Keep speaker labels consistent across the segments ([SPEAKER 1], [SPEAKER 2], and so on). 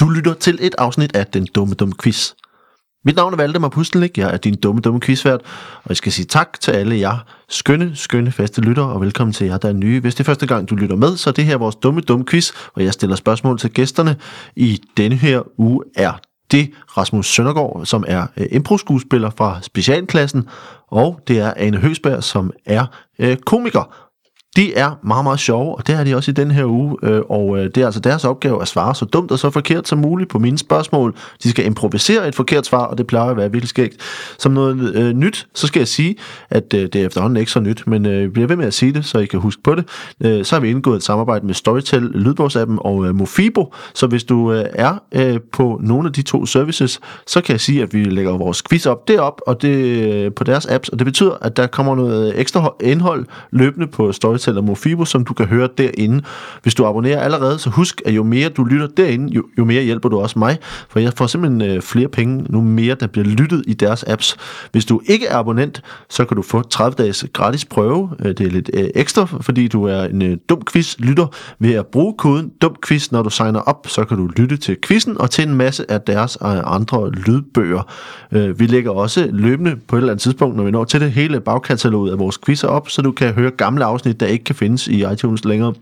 [SPEAKER 1] Du lytter til et afsnit af Den Dumme Dumme Quiz. Mit navn er Valdemar Pustelnik, jeg er din dumme, dumme quizvært, og jeg skal sige tak til alle jer skønne, skønne faste lyttere, og velkommen til jer, der er nye. Hvis det er første gang, du lytter med, så er det her vores dumme, dumme quiz, hvor jeg stiller spørgsmål til gæsterne. I denne her uge er det Rasmus Søndergaard, som er øh, impro-skuespiller fra specialklassen, og det er Ane Høsberg, som er øh, komiker. De er meget, meget sjove, og det er de også i den her uge, øh, og øh, det er altså deres opgave at svare så dumt og så forkert som muligt på mine spørgsmål. De skal improvisere et forkert svar, og det plejer at være virkelig skægt. Som noget øh, nyt, så skal jeg sige, at øh, det er efterhånden ikke så nyt, men øh, vi bliver ved med at sige det, så I kan huske på det. Øh, så har vi indgået et samarbejde med Storytel, Lydbogsappen og øh, Mofibo, så hvis du øh, er øh, på nogle af de to services, så kan jeg sige, at vi lægger vores quiz op derop og det øh, på deres apps, og det betyder, at der kommer noget øh, ekstra ho- indhold løbende på Storytel og Mofibo, som du kan høre derinde. Hvis du abonnerer allerede, så husk, at jo mere du lytter derinde, jo, jo mere hjælper du også mig, for jeg får simpelthen øh, flere penge, nu mere der bliver lyttet i deres apps. Hvis du ikke er abonnent, så kan du få 30 dages gratis prøve. Øh, Det er lidt øh, ekstra, fordi du er en øh, dum quiz lytter. Ved at bruge koden dum quiz, når du signer op, så kan du lytte til quizzen og til en masse af deres øh, andre lydbøger. Øh, Vi lægger også løbende på et eller andet tidspunkt, når vi når til det hele bagkataloget af vores quizzer op, så du kan høre gamle afsnit, der ikke kan findes i iTunes længere.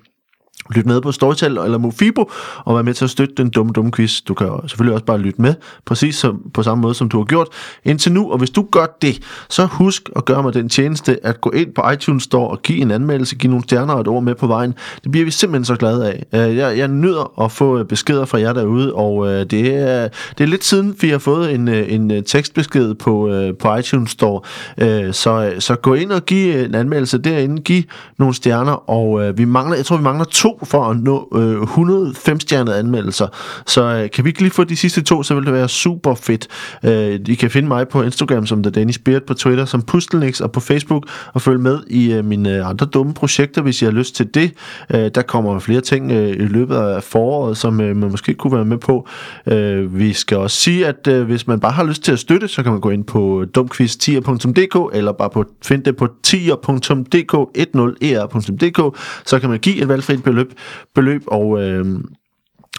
[SPEAKER 1] Lyt med på Storytel eller Mofibo, og vær med til at støtte den dumme, dumme quiz. Du kan selvfølgelig også bare lytte med, præcis som, på samme måde, som du har gjort indtil nu. Og hvis du gør det, så husk at gøre mig den tjeneste, at gå ind på iTunes Store og give en anmeldelse, give nogle stjerner og et ord med på vejen. Det bliver vi simpelthen så glade af. Øh, Jeg, jeg nyder at få øh, beskeder fra jer derude, og øh, det er, det er lidt siden, vi har fået en, øh, en øh, tekstbesked på, øh, på iTunes Store. Øh, Så, så gå ind og give øh, en anmeldelse derinde, give nogle stjerner, og øh, vi mangler, jeg tror, vi mangler to for at nå øh, 105 stjernede anmeldelser. Så øh, kan vi ikke lige få de sidste to, så vil det være super fedt. Øh, I kan finde mig på Instagram som The Danish Beard, på Twitter som Pustelnix og på Facebook, og følg med i øh, mine øh, andre dumme projekter, hvis I har lyst til det. Øh, der kommer flere ting øh, i løbet af foråret, som øh, man måske kunne være med på. Øh, vi skal også sige, at øh, hvis man bare har lyst til at støtte, så kan man gå ind på dumquiz10.dk eller bare på, find det på 10.dk e 10er.dk, så kan man give et valgfrit beløb, beløb og... Øh,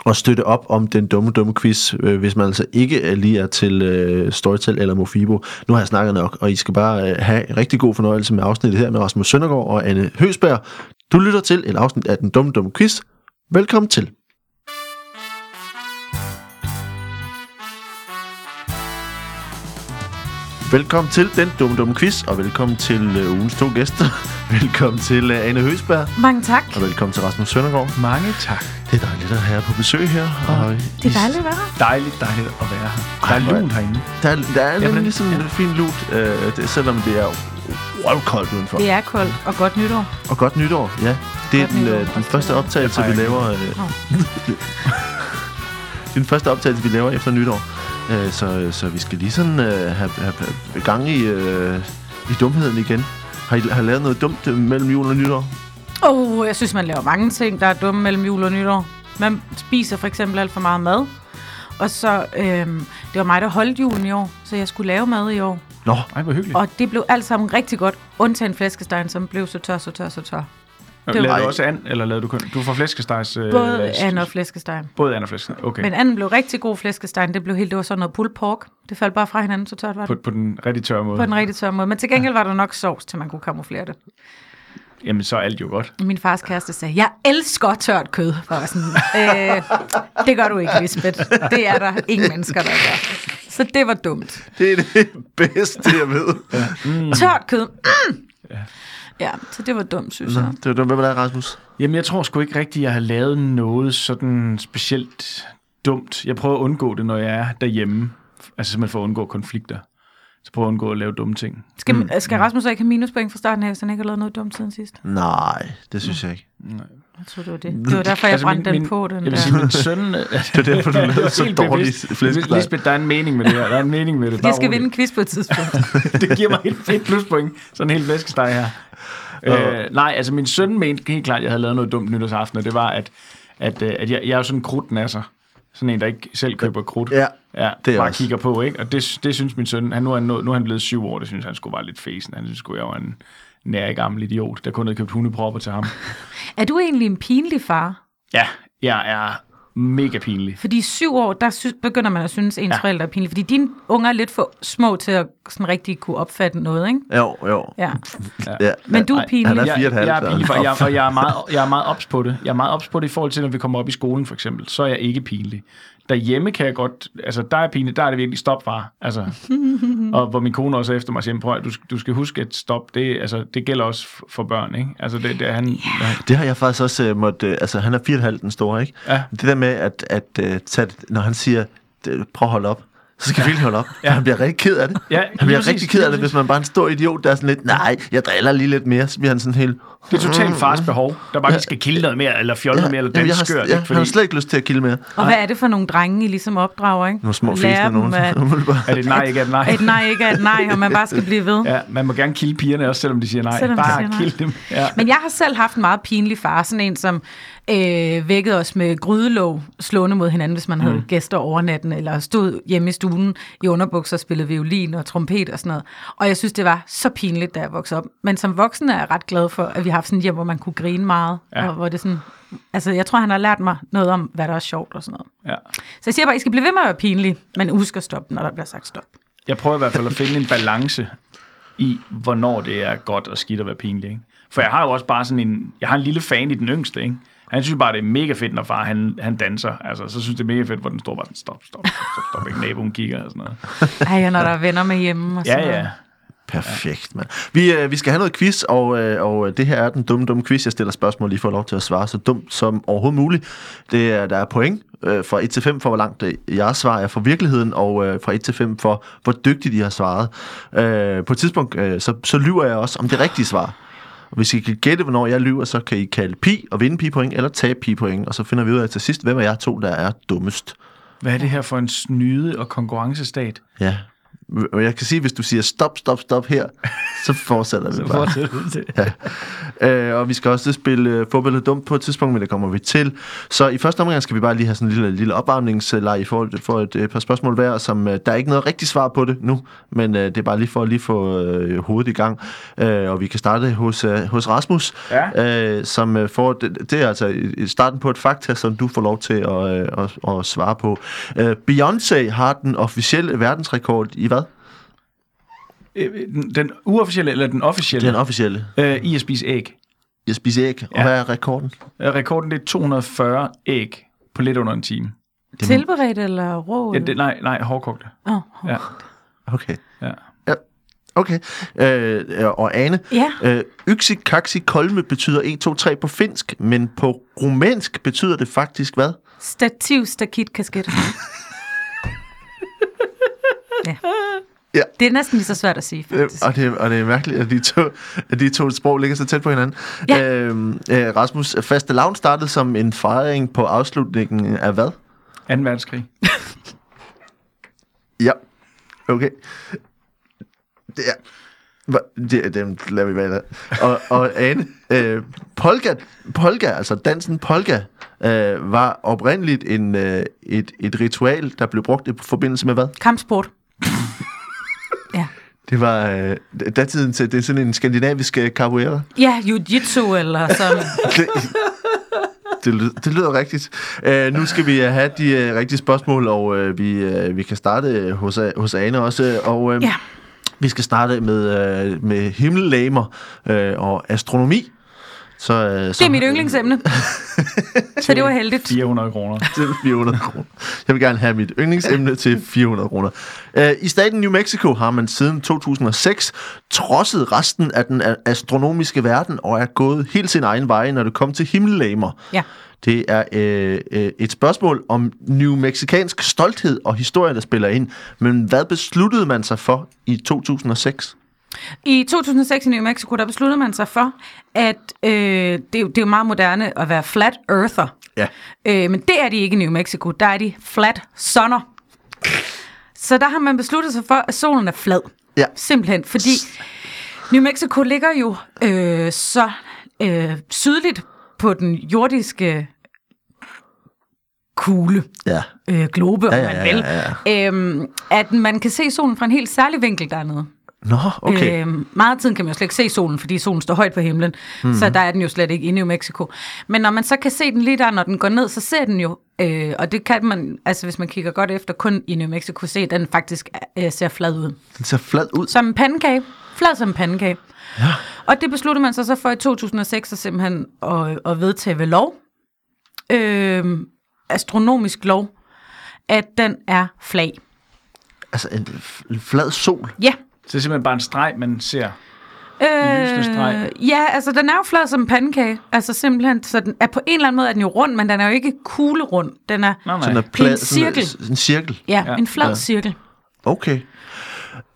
[SPEAKER 1] og støtte op om den dumme, dumme quiz, øh, hvis man altså ikke er lige er til øh, Storytel eller Mofibo. Nu har jeg snakket nok, og I skal bare øh, have rigtig god fornøjelse med afsnittet her med Rasmus Søndergaard og Anne Høsberg. Du lytter til et afsnit af den dumme, dumme quiz. Velkommen til. Velkommen til den dumme, dumme quiz, og velkommen til øh, ugens to gæster. velkommen til øh, Anne Høsberg,
[SPEAKER 2] Mange tak.
[SPEAKER 1] og velkommen til Rasmus Søndergaard.
[SPEAKER 3] Mange tak.
[SPEAKER 1] Det er dejligt at have jer på besøg her. Og
[SPEAKER 2] Det er dejligt at være her.
[SPEAKER 3] Dejligt, dejligt at være her. Der er
[SPEAKER 1] Ej, hvor er-
[SPEAKER 3] lun herinde.
[SPEAKER 1] Der, er- der er
[SPEAKER 3] Ja,
[SPEAKER 1] nemlig
[SPEAKER 3] hvordan-
[SPEAKER 1] sådan en fin lut, øh, det, selvom det er røvkoldt udenfor.
[SPEAKER 2] Det er koldt og godt nytår.
[SPEAKER 1] Og godt nytår, ja. Det er
[SPEAKER 2] Godt
[SPEAKER 1] den,
[SPEAKER 2] nytår.
[SPEAKER 1] øh, den første optagelse, vi
[SPEAKER 3] Jeg fejrer
[SPEAKER 1] laver... Øh, den første optagelse, vi laver efter nytår. Øh, så, så vi skal lige sådan øh, have, have, have gang i, øh, i dumheden igen. Har I har I lavet noget dumt øh, mellem jul og nytår?
[SPEAKER 2] Åh, oh, jeg synes, man laver mange ting, der er dumme mellem jul og nytår. Man spiser for eksempel alt for meget mad. Og så, øhm, det var mig, der holdt julen i år, så jeg skulle lave mad i år.
[SPEAKER 1] Nå,
[SPEAKER 3] Ej, hvor hyggeligt.
[SPEAKER 2] Og det blev alt sammen rigtig godt, undtagen flæskestegen, som blev så tør, så tør, så tør.
[SPEAKER 3] Og,
[SPEAKER 2] det var-
[SPEAKER 3] lavede du også and, eller lavede du kun... Du får flæskestegs... Øh,
[SPEAKER 2] Både
[SPEAKER 3] s-
[SPEAKER 2] and og flæskestegen.
[SPEAKER 3] Både and og flæskesteg. Okay.
[SPEAKER 2] Men anden blev rigtig god flæskestegen, det blev helt, det var sådan noget pulled pork. Det faldt bare fra hinanden, så tørt var
[SPEAKER 3] På,
[SPEAKER 2] det.
[SPEAKER 3] på den rigtig tørre måde.
[SPEAKER 2] På en rigtig tør måde. Men til gengæld var der nok sovs, til man kunne kamuflere det.
[SPEAKER 3] Jamen, så er alt jo godt.
[SPEAKER 2] Min fars kæreste sagde, jeg elsker tørt kød. Og jeg var sådan, øh, det gør du ikke, Lisbeth. Det er der ingen mennesker, der gør. Så det var dumt.
[SPEAKER 1] det er det bedste, jeg ved.
[SPEAKER 2] Tørt kød. Mm. Ja, så det var dumt, synes jeg.
[SPEAKER 1] Det var dumt. Hvad med dig, Rasmus?
[SPEAKER 3] Jamen, jeg tror sgu ikke rigtigt, jeg har lavet noget sådan specielt dumt. Jeg prøver at undgå det, når jeg er derhjemme. Altså simpelthen for at undgå konflikter. Så prøver jeg at undgå at lave dumme ting.
[SPEAKER 2] Skal, skal Rasmus så ikke have minuspoint fra starten af, så han ikke har lavet noget dumt siden sidst?
[SPEAKER 1] Nej, det synes jeg ikke.
[SPEAKER 2] Jeg tror, det var det. Det var derfor, jeg brændte den på, den
[SPEAKER 3] jeg
[SPEAKER 2] der.
[SPEAKER 3] vil sige, Altså, min søn... det
[SPEAKER 1] er derfor, du lavede
[SPEAKER 3] var
[SPEAKER 1] så
[SPEAKER 3] helt
[SPEAKER 1] dårlig
[SPEAKER 3] bevidst.
[SPEAKER 1] flæskesteg.
[SPEAKER 3] Lisbeth, der er en mening med det her. Der er en mening med det.
[SPEAKER 2] De
[SPEAKER 3] Bare
[SPEAKER 2] skal
[SPEAKER 3] rolig.
[SPEAKER 2] vinde en quiz på et tidspunkt.
[SPEAKER 3] det giver mig et, et pluspoint. Sådan en hel flæskesteg her. Øh, nej, altså min søn mente helt klart, at jeg havde lavet noget dumt nytårsaften, og det var, at, at, øh, at jeg, jeg er jo sådan en krudtnasser. Sådan en, der ikke selv køber krudt.
[SPEAKER 1] Ja,
[SPEAKER 3] ja
[SPEAKER 1] det er
[SPEAKER 3] bare
[SPEAKER 1] også.
[SPEAKER 3] kigger på, ikke? Og det, det synes min søn, han, nu, er han, nået- nu er han blevet syv år, det synes han skulle være lidt fesen. Han synes sgu, jeg var en nærig gammel idiot, der kun havde købt hundepropper til ham.
[SPEAKER 2] er du egentlig en pinlig far?
[SPEAKER 3] Ja, jeg er mega pinlig.
[SPEAKER 2] Fordi i syv år, der sy- begynder man at synes, at ens
[SPEAKER 3] Ja.
[SPEAKER 2] ja. forældre er pinlige. Fordi dine unger er lidt for små til at sådan rigtig kunne opfatte noget, ikke?
[SPEAKER 1] Jo, jo.
[SPEAKER 2] Ja.
[SPEAKER 1] Ja.
[SPEAKER 2] Men du er
[SPEAKER 3] Ej,
[SPEAKER 1] han er f- fire
[SPEAKER 2] pinlig.
[SPEAKER 1] og et
[SPEAKER 3] jeg,
[SPEAKER 1] halvt,
[SPEAKER 3] jeg, er
[SPEAKER 1] altså.
[SPEAKER 3] pinlig, for jeg, for jeg, er meget, jeg er meget ops på det. Jeg er meget ops på det i forhold til, når vi kommer op i skolen, for eksempel. Så er jeg ikke pinlig. Derhjemme kan jeg godt... Altså, der er pinligt. Der er det virkelig stop, far. Altså, og hvor min kone også er efter mig siger, prøv, at- du, du skal huske at stop. Det, altså, det gælder også f- for børn, ikke? Altså, det, det er han... Yeah.
[SPEAKER 1] Det har jeg faktisk også øh, måtte... Øh, altså, han er 4,5 den store, ikke?
[SPEAKER 3] Ja.
[SPEAKER 1] Det der med, at, at øh, tage, det- når han siger, "Det- prøv at holde op, så skal vi virkelig holde op. Ja. Han bliver rigtig ked af det.
[SPEAKER 3] Ja,
[SPEAKER 1] han
[SPEAKER 3] lige
[SPEAKER 1] bliver
[SPEAKER 3] præcis,
[SPEAKER 1] rigtig ked af
[SPEAKER 3] lige
[SPEAKER 1] det,
[SPEAKER 3] præcis.
[SPEAKER 1] hvis man bare er en stor idiot, der er sådan lidt, nej, jeg driller lige lidt mere, så bliver han sådan helt...
[SPEAKER 3] Det er totalt fars behov. Der bare lige skal kilde noget mere, eller fjolle noget mere, eller
[SPEAKER 1] jamen,
[SPEAKER 3] den
[SPEAKER 1] jeg har,
[SPEAKER 3] skørt.
[SPEAKER 1] ja,
[SPEAKER 3] ikke?
[SPEAKER 1] han har slet ikke lyst til at kilde mere.
[SPEAKER 2] Og hvad er det for nogle drenge, I ligesom opdrager, ikke?
[SPEAKER 1] Nogle små
[SPEAKER 2] Lærer
[SPEAKER 1] fæsende nogen.
[SPEAKER 2] dem, at,
[SPEAKER 3] er det et nej, ikke er det nej?
[SPEAKER 2] at nej ikke er et nej, og man bare skal blive ved.
[SPEAKER 3] Ja, man må gerne kilde pigerne også, selvom de siger nej.
[SPEAKER 2] Selvom de
[SPEAKER 3] bare
[SPEAKER 2] siger nej.
[SPEAKER 3] kilde dem. Ja.
[SPEAKER 2] Men jeg har selv haft en meget pinlig far, sådan en, som øh, vækkede os med grydelåg slående mod hinanden, hvis man mm. havde gæster over natten, eller stod hjemme i stuen i underbukser og spillede violin og trompet og sådan noget. Og jeg synes, det var så pinligt, da jeg voksede op. Men som voksen er jeg ret glad for, at vi har haft sådan et hjem, hvor man kunne grine meget.
[SPEAKER 3] Ja.
[SPEAKER 2] Ja. Og hvor det sådan, altså, jeg tror, han har lært mig noget om, hvad der er sjovt og sådan noget.
[SPEAKER 3] Ja.
[SPEAKER 2] Så jeg siger bare, I skal blive ved med at være pinlige, men husk at stoppe, når der bliver sagt stop.
[SPEAKER 3] Jeg prøver i hvert fald at finde en balance i, hvornår det er godt og skidt at være pinlig. Ikke? For jeg har jo også bare sådan en... Jeg har en lille fan i den yngste, ikke? Han synes bare, det er mega fedt, når far han, han danser. Altså, så synes det er mega fedt, hvor den står bare sådan, stop, stop, stop, stop, ikke? Naboen kigger og sådan noget.
[SPEAKER 2] Ej, og når der er venner med hjemme og sådan
[SPEAKER 3] Ja,
[SPEAKER 2] noget.
[SPEAKER 3] ja.
[SPEAKER 1] Perfekt, mand. Vi, øh, vi skal have noget quiz, og, øh, og det her er den dumme, dumme quiz. Jeg stiller spørgsmål, I får lov til at svare så dumt som overhovedet muligt. Det er, der er point øh, fra 1 til 5 for, hvor langt øh, jeres svar er fra virkeligheden, og øh, fra 1 til 5 for, hvor dygtigt I har svaret. Øh, på et tidspunkt, øh, så, så lyver jeg også om det rigtige svar. Og hvis I kan gætte, hvornår jeg lyver, så kan I kalde pi og vinde pi-point, eller tabe pi-point, og så finder vi ud af til sidst, hvem af jer to, der er dummest.
[SPEAKER 3] Hvad er det her for en snyde- og konkurrencestat?
[SPEAKER 1] Ja. Og jeg kan sige, hvis du siger stop, stop, stop her, så fortsætter vi bare. Øh, og vi skal også spille øh, fodbold og dumt på et tidspunkt, men det kommer vi til. Så i første omgang skal vi bare lige have sådan en lille, lille opvarmningsleg i forhold til for et øh, par spørgsmål hver, som øh, der er ikke noget rigtigt svar på det nu, men øh, det er bare lige for at lige få øh, hovedet i gang. Øh, og vi kan starte hos, øh, hos Rasmus, ja. øh, som øh, får, det, det er altså i- i starten på et fakta, som du får lov til at, øh, at, at svare på. Øh, Beyoncé har den officielle verdensrekord i hvad?
[SPEAKER 3] Øh, den- Den uofficielle eller den officielle?
[SPEAKER 1] Den officielle.
[SPEAKER 3] Øh, I at spise æg.
[SPEAKER 1] Jeg spiser æg. Og
[SPEAKER 3] Ja.
[SPEAKER 1] hvad er rekorden?
[SPEAKER 3] Øh, Rekorden det er 240 æg på lidt under en time.
[SPEAKER 2] Tilberedt eller rå?
[SPEAKER 3] Ja,
[SPEAKER 2] eller-
[SPEAKER 3] det, nej, nej, hårdkogte.
[SPEAKER 2] Åh.
[SPEAKER 3] Ja,
[SPEAKER 1] Okay.
[SPEAKER 3] ja.
[SPEAKER 1] Ja, okay. Øh, og Ane,
[SPEAKER 2] Ja.
[SPEAKER 1] øh, yksi kaksi kolme betyder 1, 2, 3 på finsk, men på rumænsk betyder det faktisk hvad?
[SPEAKER 2] Stativ, stakit, kasket. ja.
[SPEAKER 1] Ja.
[SPEAKER 2] Det er næsten lige så svært at sige,
[SPEAKER 1] Øh,
[SPEAKER 2] faktisk.
[SPEAKER 1] og, det, og det er mærkeligt, at de to, at de to sprog ligger så tæt på hinanden.
[SPEAKER 2] Ja.
[SPEAKER 1] Øh, øh, Rasmus, faste lavn startede som en fejring på afslutningen af hvad?
[SPEAKER 3] 2. verdenskrig.
[SPEAKER 1] Ja. Okay. Det er... Hva- Det, dem lader vi være der. Og, og Ane, øh, polka, polka, altså dansen polka, øh, var oprindeligt en, øh, et, et ritual, der blev brugt i forbindelse med hvad?
[SPEAKER 2] Kampsport. ja.
[SPEAKER 1] Det var øh, datiden til, det er sådan en skandinavisk øh, capoeira.
[SPEAKER 2] Ja, jiu-jitsu eller sådan.
[SPEAKER 1] Det, det, lyder, det lyder rigtigt. Øh, nu skal vi øh, have de øh, rigtige spørgsmål, og øh, vi, øh, vi kan starte øh, hos, A- hos Ane også. Og, øh,
[SPEAKER 2] Ja.
[SPEAKER 1] Vi skal starte med, øh, med himmellegemer øh, og astronomi. Så, øh, så,
[SPEAKER 2] Det er mit yndlingsemne. så det var heldigt.
[SPEAKER 3] 400 kroner.
[SPEAKER 1] Til 400 kroner. Jeg vil gerne have mit yndlingsemne til 400 kroner. Øh, I staten New Mexico har man siden 2006 trodset resten af den a- astronomiske verden og er gået helt sin egen vej, når det kom til himmellegemer.
[SPEAKER 2] Ja.
[SPEAKER 1] Det er øh, øh, et spørgsmål om new mexikansk stolthed og historie, der spiller ind. Men hvad besluttede man sig for i 2006?
[SPEAKER 2] I 2006 i New Mexico, der besluttede man sig for, at øh, det, er jo- det er jo meget moderne at være flat earther.
[SPEAKER 1] Ja.
[SPEAKER 2] Øh, men det er de ikke i New Mexico. Der er de flat sunner. Så der har man besluttet sig for, at solen er flad.
[SPEAKER 1] Ja.
[SPEAKER 2] Simpelthen, fordi New Mexico ligger jo øh, så øh, sydligt på den jordiske kugle,
[SPEAKER 1] Ja.
[SPEAKER 2] øh, globe, om
[SPEAKER 1] Ja, ja,
[SPEAKER 2] man
[SPEAKER 1] ja,
[SPEAKER 2] vil,
[SPEAKER 1] ja,
[SPEAKER 2] Øhm, at man kan se solen fra en helt særlig vinkel dernede.
[SPEAKER 1] Nå, okay.
[SPEAKER 2] Øhm, meget af tiden kan man jo slet ikke se solen, fordi solen står højt på himlen, mm. så der er den jo slet ikke inde i New Mexico. Men når man så kan se den lige der, når den går ned, så ser den jo Øh, og det kan man, altså hvis man kigger godt efter, kun i New Mexico se, at den faktisk øh, ser flad ud.
[SPEAKER 1] Den ser flad ud.
[SPEAKER 2] Som en pandekage. Flad som en pandekage. Ja. Og det besluttede man sig så for i 2006 at simpelthen at, at vedtage ved lov, øh, astronomisk lov, at den er flad.
[SPEAKER 1] Altså en, f- en flad sol.
[SPEAKER 2] Ja.
[SPEAKER 3] Så det er simpelthen bare en streg, man ser. lysende streg.
[SPEAKER 2] ja, altså den er jo flad som en pandekage. Altså simpelthen, så den er på en eller anden måde er den jo rund, men den er jo ikke kuglerund. Den er,
[SPEAKER 3] Nej,
[SPEAKER 1] Sådan
[SPEAKER 3] nej.
[SPEAKER 1] en, plad,
[SPEAKER 2] En cirkel.
[SPEAKER 1] Sådan en, en cirkel.
[SPEAKER 2] ja,
[SPEAKER 3] Ja.
[SPEAKER 2] ja, en flad
[SPEAKER 1] Ja.
[SPEAKER 2] ja. cirkel.
[SPEAKER 1] Okay.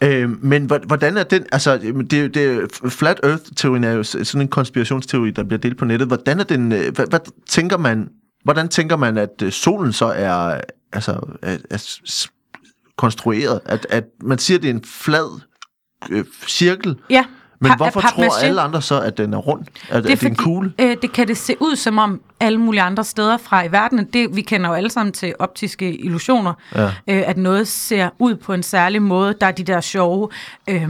[SPEAKER 1] Øh, men hvor- hvordan er den, altså det, er jo- det er jo- Flat Earth-teorien er jo s- sådan en konspirationsteori, der bliver delt på nettet. Hvordan er den, øh, hvad, hvad tænker man, hvordan tænker man, at øh, solen så er, altså, er, er s- s- konstrueret? At, at man siger, at det er en flad øh, cirkel,
[SPEAKER 2] Ja.
[SPEAKER 1] men
[SPEAKER 2] Pa-
[SPEAKER 1] hvorfor
[SPEAKER 2] papmaché.
[SPEAKER 1] tror alle andre så, at den er rund? At, det er, at det er en kugle?
[SPEAKER 2] Øh, det kan det se ud som om alle mulige andre steder fra i verden. Det, vi kender jo alle sammen til optiske illusioner,
[SPEAKER 1] Ja.
[SPEAKER 2] øh, at noget ser ud på en særlig måde. Der er de der sjove øh,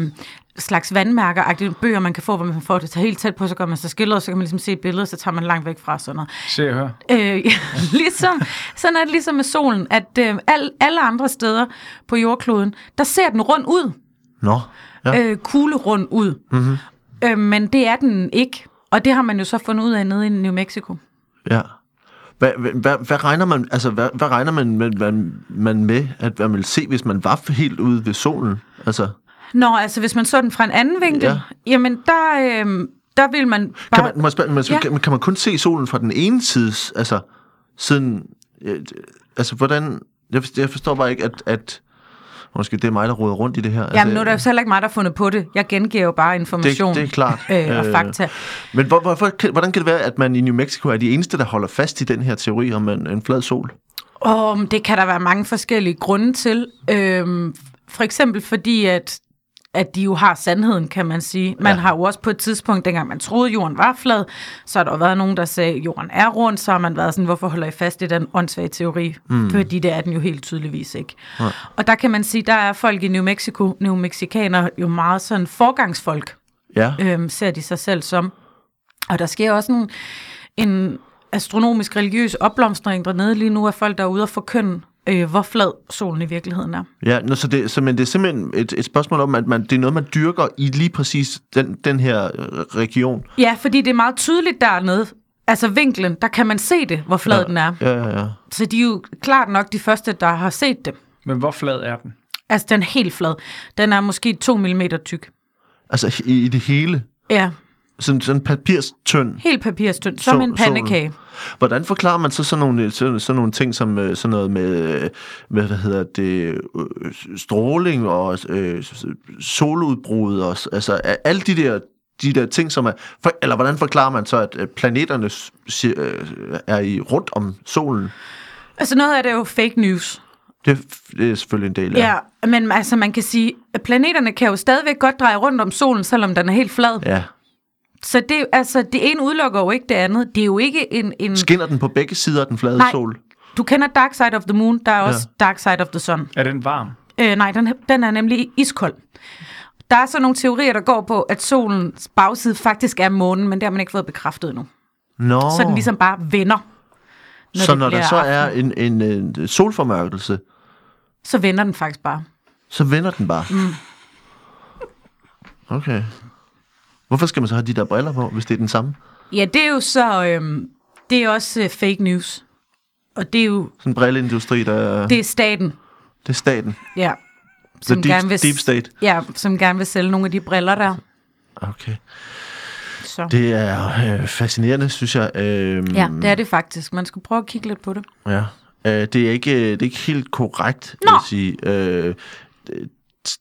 [SPEAKER 2] slags vandmærker bøger, man kan få, hvor man får det helt tæt på, så gør man sig skildret, så kan man ligesom se billedet, så tager man langt væk fra sådan noget.
[SPEAKER 3] Se og hør.
[SPEAKER 2] Øh, ligesom, sådan er det ligesom med solen, at øh, al, alle andre steder på jordkloden, der ser den rundt ud,
[SPEAKER 1] Nå, ja. Mhm.
[SPEAKER 2] øh, kuglerund ud. Mm-hmm. Øh, men det er den ikke. Og det har man jo så fundet ud af nede i New Mexico.
[SPEAKER 1] Ja. Hvad, hvad, hvad, hvad regner man, altså, hvad, hvad regner man, man, man, man med, at man vil se, hvis man var helt ude ved solen? Altså,
[SPEAKER 2] Nå, altså hvis man så den fra en anden vinkel,
[SPEAKER 1] Ja.
[SPEAKER 2] ja. jamen der, øh, der vil man
[SPEAKER 1] kan
[SPEAKER 2] bare...
[SPEAKER 1] man, må jeg spørge, må jeg spørge,
[SPEAKER 2] Ja.
[SPEAKER 1] kan, kan man kun se solen fra den ene side, altså, siden, øh, altså, hvordan, jeg forstår, jeg forstår bare ikke, at, at, måske det er mig, der roder rundt i det her.
[SPEAKER 2] Jamen nu
[SPEAKER 1] altså,
[SPEAKER 2] er der jo så heller ikke mig, der har fundet på det. Jeg gengiver jo bare information
[SPEAKER 1] det, det er klart.
[SPEAKER 2] Øh, og fakta.
[SPEAKER 1] Men hvor, hvorfor, kan- hvordan kan det være, at man i New Mexico er de eneste, der holder fast i den her teori om en, en flad sol?
[SPEAKER 2] Og det kan der være mange forskellige grunde til. Øhm, for eksempel fordi, at, at de jo har sandheden, kan man sige. Man
[SPEAKER 1] Ja.
[SPEAKER 2] ja. har jo også på et tidspunkt, dengang man troede, jorden var flad, så har der jo været nogen, der sagde, at jorden er rund, så har man været sådan, hvorfor holder I fast i den åndssvage teori? Mm. Fordi det er den jo helt tydeligvis ikke. Ja. Og der kan man sige, der er folk i New Mexico, New Mexicanere, jo meget sådan forgangsfolk
[SPEAKER 1] Ja,
[SPEAKER 2] øhm, ser de sig selv som. Og der sker også en, en astronomisk religiøs opblomstring dernede lige nu af folk, der er ude og forkynde, øh, hvor flad solen i virkeligheden er.
[SPEAKER 1] Ja, nå, så det, så, men det er simpelthen et, et spørgsmål om, at man, det er noget, man dyrker i lige præcis den, den her øh, region.
[SPEAKER 2] Ja, fordi det er meget tydeligt dernede, altså vinklen, der kan man se det, hvor flad ja. den er.
[SPEAKER 1] Ja, ja, ja.
[SPEAKER 2] Så de er jo klart nok de første, der har set det.
[SPEAKER 3] Men hvor flad er den?
[SPEAKER 2] Altså, den er helt flad. Den er måske 2 mm tyk.
[SPEAKER 1] Altså i, i det hele.
[SPEAKER 2] Ja,
[SPEAKER 1] Sådan, sådan papirstønd.
[SPEAKER 2] helt papirstønd, som
[SPEAKER 1] Sol-
[SPEAKER 2] en pandekage.
[SPEAKER 1] Hvordan forklarer man så sådan nogle, øh, sådan, sådan nogle ting som øh, sådan noget med, øh, med hvad hedder det, øh, stråling og øh, soludbrud og s- altså a- alle de der de der ting, som er... For, eller hvordan forklarer man så, at øh, planeterne s- si- øh, er i rundt om solen?
[SPEAKER 2] Altså, noget af det er jo fake news.
[SPEAKER 1] Det, er f- det er selvfølgelig en del af.
[SPEAKER 2] Ja, men altså man kan sige, at planeterne kan jo stadigvæk godt dreje rundt om solen, selvom den er helt flad. Ja.
[SPEAKER 1] ja.
[SPEAKER 2] Så det, altså, det ene udelukker jo ikke det andet. Det er jo ikke en... en
[SPEAKER 1] Skinner den på begge sider af den flade
[SPEAKER 2] Mm. Nej.
[SPEAKER 1] sol?
[SPEAKER 2] du kender Dark Side of the Moon, der er også ja. Dark Side of the Sun.
[SPEAKER 3] Er den varm?
[SPEAKER 2] Øh, nej, den, den er nemlig iskold. Der er så nogle teorier, der går på, at solens bagside faktisk er månen, men det har man ikke fået bekræftet endnu.
[SPEAKER 1] Nå.
[SPEAKER 2] Oh. Så den ligesom bare vender.
[SPEAKER 1] når så
[SPEAKER 2] det
[SPEAKER 1] når der
[SPEAKER 2] bliver
[SPEAKER 1] så
[SPEAKER 2] aften,
[SPEAKER 1] er en, en, en øh, solformørkelse,
[SPEAKER 2] Så vender den faktisk bare.
[SPEAKER 1] så vender den bare? Mm. Okay. Hvorfor skal man så have de der briller på, hvis det er den samme?
[SPEAKER 2] Ja, det er jo så... Øhm, det er også øh, fake news. Og det er jo...
[SPEAKER 1] Sådan en brilleindustri, der det,
[SPEAKER 2] Det er staten,
[SPEAKER 1] det er staten.
[SPEAKER 2] Ja.
[SPEAKER 1] The deep, deep state.
[SPEAKER 2] Ja, som gerne vil sælge nogle af de briller der.
[SPEAKER 1] Okay.
[SPEAKER 2] Så. Det,
[SPEAKER 1] Det er øh, fascinerende, synes jeg. Øh,
[SPEAKER 2] ja, det er det faktisk. Man skulle prøve at kigge lidt på det.
[SPEAKER 1] Ja. Øh, det, er ikke, øh, det er ikke helt korrekt,
[SPEAKER 2] Nå.
[SPEAKER 1] vil jeg sige. Øh, det-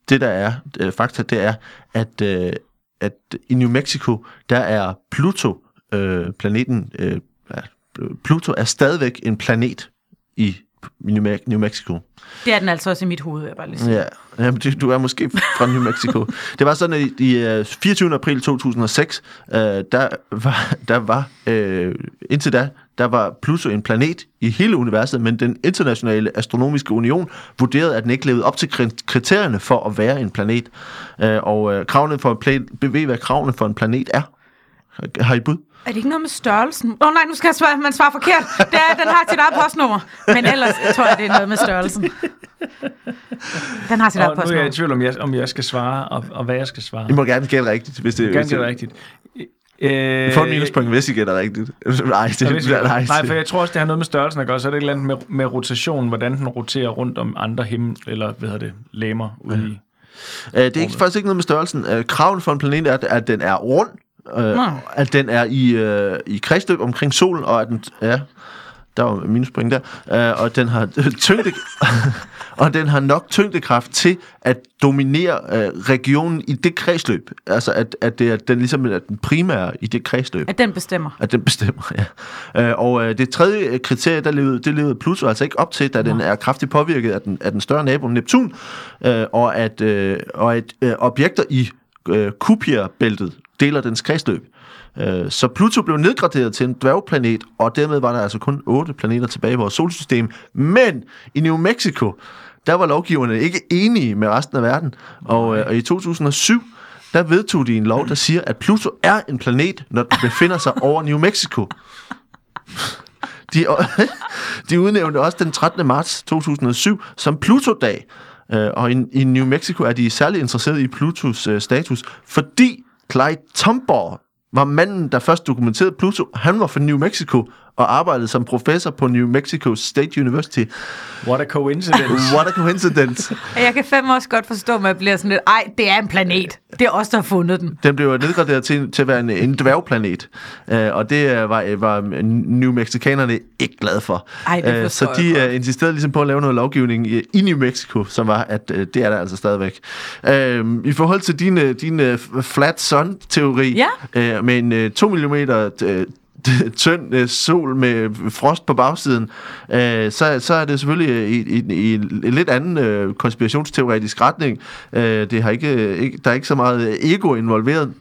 [SPEAKER 1] det, der er øh, fakta, det er, at, øh, at i New Mexico, der er Pluto, øh, planeten, øh, er- Pluto er stadigvæk en planet i New Me- New Mexico.
[SPEAKER 2] Det er den altså også i mit hoved, vil jeg bare lige sige.
[SPEAKER 1] Ja, Jamen, det- du er måske fra New Mexico. det var sådan, at i øh, 24. april 2006, øh, der var, der var øh, indtil da, der var Pluto en planet i hele universet, men den internationale astronomiske union vurderede, at den ikke levede op til kri- kriterierne for at være en planet. Øh, og øh, kravene for en planet, ved I, hvad kravene for en planet er? Har I bud?
[SPEAKER 2] Er det ikke noget med størrelsen? Åh oh, nej, nu skal jeg svare, man svarer forkert. Det er, den har sit eget postnummer. Men ellers tror jeg, det er noget med størrelsen. Den har sit eget
[SPEAKER 3] Og nu er jeg i
[SPEAKER 2] postnummer.
[SPEAKER 3] tvivl, om jeg, om jeg skal svare, og, og hvad jeg skal svare.
[SPEAKER 1] I må gerne gætte rigtigt, hvis det,
[SPEAKER 3] Ganske
[SPEAKER 1] hvis
[SPEAKER 3] rigtigt. Øh,
[SPEAKER 1] Få en minuspoint, hvis I gætter rigtigt. Nej, det
[SPEAKER 3] Jeg ved
[SPEAKER 1] er
[SPEAKER 3] ikke,
[SPEAKER 1] nej.
[SPEAKER 3] nej, for jeg tror også, det har noget med størrelsen at gøre. Så er det et eller andet med, med rotation, hvordan den roterer rundt om andre himmel, eller hvad hedder det, læmer ude i.
[SPEAKER 1] Øh, det er ikke, faktisk ikke noget med størrelsen. Øh, kraven for en planet er, at den er rund, øh,
[SPEAKER 2] Nå.
[SPEAKER 1] at den er i, øh, i kredsløb omkring solen, og at den... Ja, der var minuspoint der. Øh, og den har tyngde... og den har nok tyngdekraft til at dominere øh, regionen i det kredsløb. Altså, at, at, det, er- den ligesom er den primære i det kredsløb.
[SPEAKER 2] At den bestemmer.
[SPEAKER 1] At den bestemmer, ja. Øh, og øh, det tredje øh, kriterie, der levede, det levede Pluto altså ikke op til, da den er kraftigt påvirket af den, af den større nabo Neptun, øh, og at, øh, og at øh, objekter i øh, Kuiperbæltet deler dens kredsløb. Øh, Så Pluto blev nedgraderet til en dværgplanet, og dermed var der altså kun otte planeter tilbage i vores solsystem. Men i New Mexico, der var lovgiverne ikke enige med resten af verden. Og, øh, og i 2007, der vedtog de en lov, der siger, at Pluto er en planet, når den befinder sig over New Mexico. De, de udnævnte også den 13. marts 2007 som Pluto-dag. Øh, Og i, i New Mexico er de særlig interesseret i Plutos øh, status, fordi Clyde Tombaugh var manden, der først dokumenterede Pluto. Han var fra New Mexico og arbejdede som professor på New Mexico State University.
[SPEAKER 3] What a coincidence.
[SPEAKER 1] What a coincidence!
[SPEAKER 2] Og jeg kan fandme også godt forstå, at man bliver sådan lidt, ej, det er en planet. Det er os, der har fundet den.
[SPEAKER 1] Den blev nedgraderet til, til at være en, en dværgplanet, øh, og det øh, var, var New Mexicanerne ikke glade for.
[SPEAKER 2] Ej, det
[SPEAKER 1] Øh, så
[SPEAKER 2] forstår jeg
[SPEAKER 1] de
[SPEAKER 2] godt.
[SPEAKER 1] øh, insisterede ligesom på at lave noget lovgivning i, i New Mexico, som var, at øh, det er der altså stadigvæk. Øh, I forhold til din, øh, din øh, flat sun-teori, øh, med en øh, 2 mm øh, tynd øh, sol med frost på bagsiden, øh, så, så er det selvfølgelig øh, i, i, i en lidt anden øh, konspirationsteoretisk retning. Øh, det har ikke, ikke, der er ikke så meget øh, ego involveret.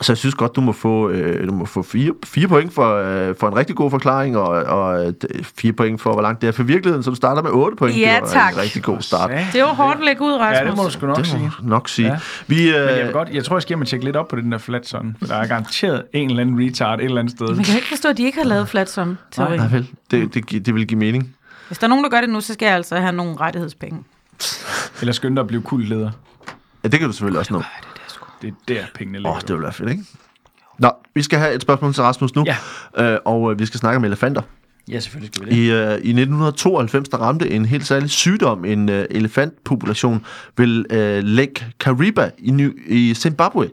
[SPEAKER 1] Så jeg synes godt, du må få, øh, du må få fire, fire point for, øh, for en rigtig god forklaring, og, og øh, fire point for, hvor langt det er for virkeligheden, som starter med otte point.
[SPEAKER 2] Ja,
[SPEAKER 1] det var
[SPEAKER 2] tak.
[SPEAKER 1] en rigtig god start.
[SPEAKER 3] Ja,
[SPEAKER 2] Det var hårdt at lægge ud, Rasmus.
[SPEAKER 3] Ja, det må du sgu nok
[SPEAKER 1] Det må
[SPEAKER 3] sige.
[SPEAKER 1] jeg nok sige. Ja.
[SPEAKER 3] Ja.
[SPEAKER 1] Vi,
[SPEAKER 3] Men jeg, vil
[SPEAKER 1] øh,
[SPEAKER 3] godt, jeg tror, jeg skal hjem og tjekke lidt op på den der flat sådan. For der er garanteret en eller anden retard et eller andet sted.
[SPEAKER 2] Men jeg kan ikke forstå, at de ikke har lavet flatsum teori
[SPEAKER 1] nej, vel, det, det, gi- det vil give mening.
[SPEAKER 2] Hvis der er nogen, der gør det nu, så skal jeg altså have nogle rettighedspenge.
[SPEAKER 3] Eller skynde dig at blive kultleder.
[SPEAKER 1] Ja, det kan du selvfølgelig også nå.
[SPEAKER 3] Det er der, pengene ligger.
[SPEAKER 1] Åh, oh, det ville være fedt, ikke? Nå, vi skal have et spørgsmål til Rasmus nu, ja. øh, og øh, vi skal snakke om elefanter.
[SPEAKER 3] Ja, selvfølgelig skal vi
[SPEAKER 1] I, øh, I 1992 der ramte en helt særlig sygdom en øh, elefantpopulation ved øh, Lake Kariba i, Ny- i Zimbabwe.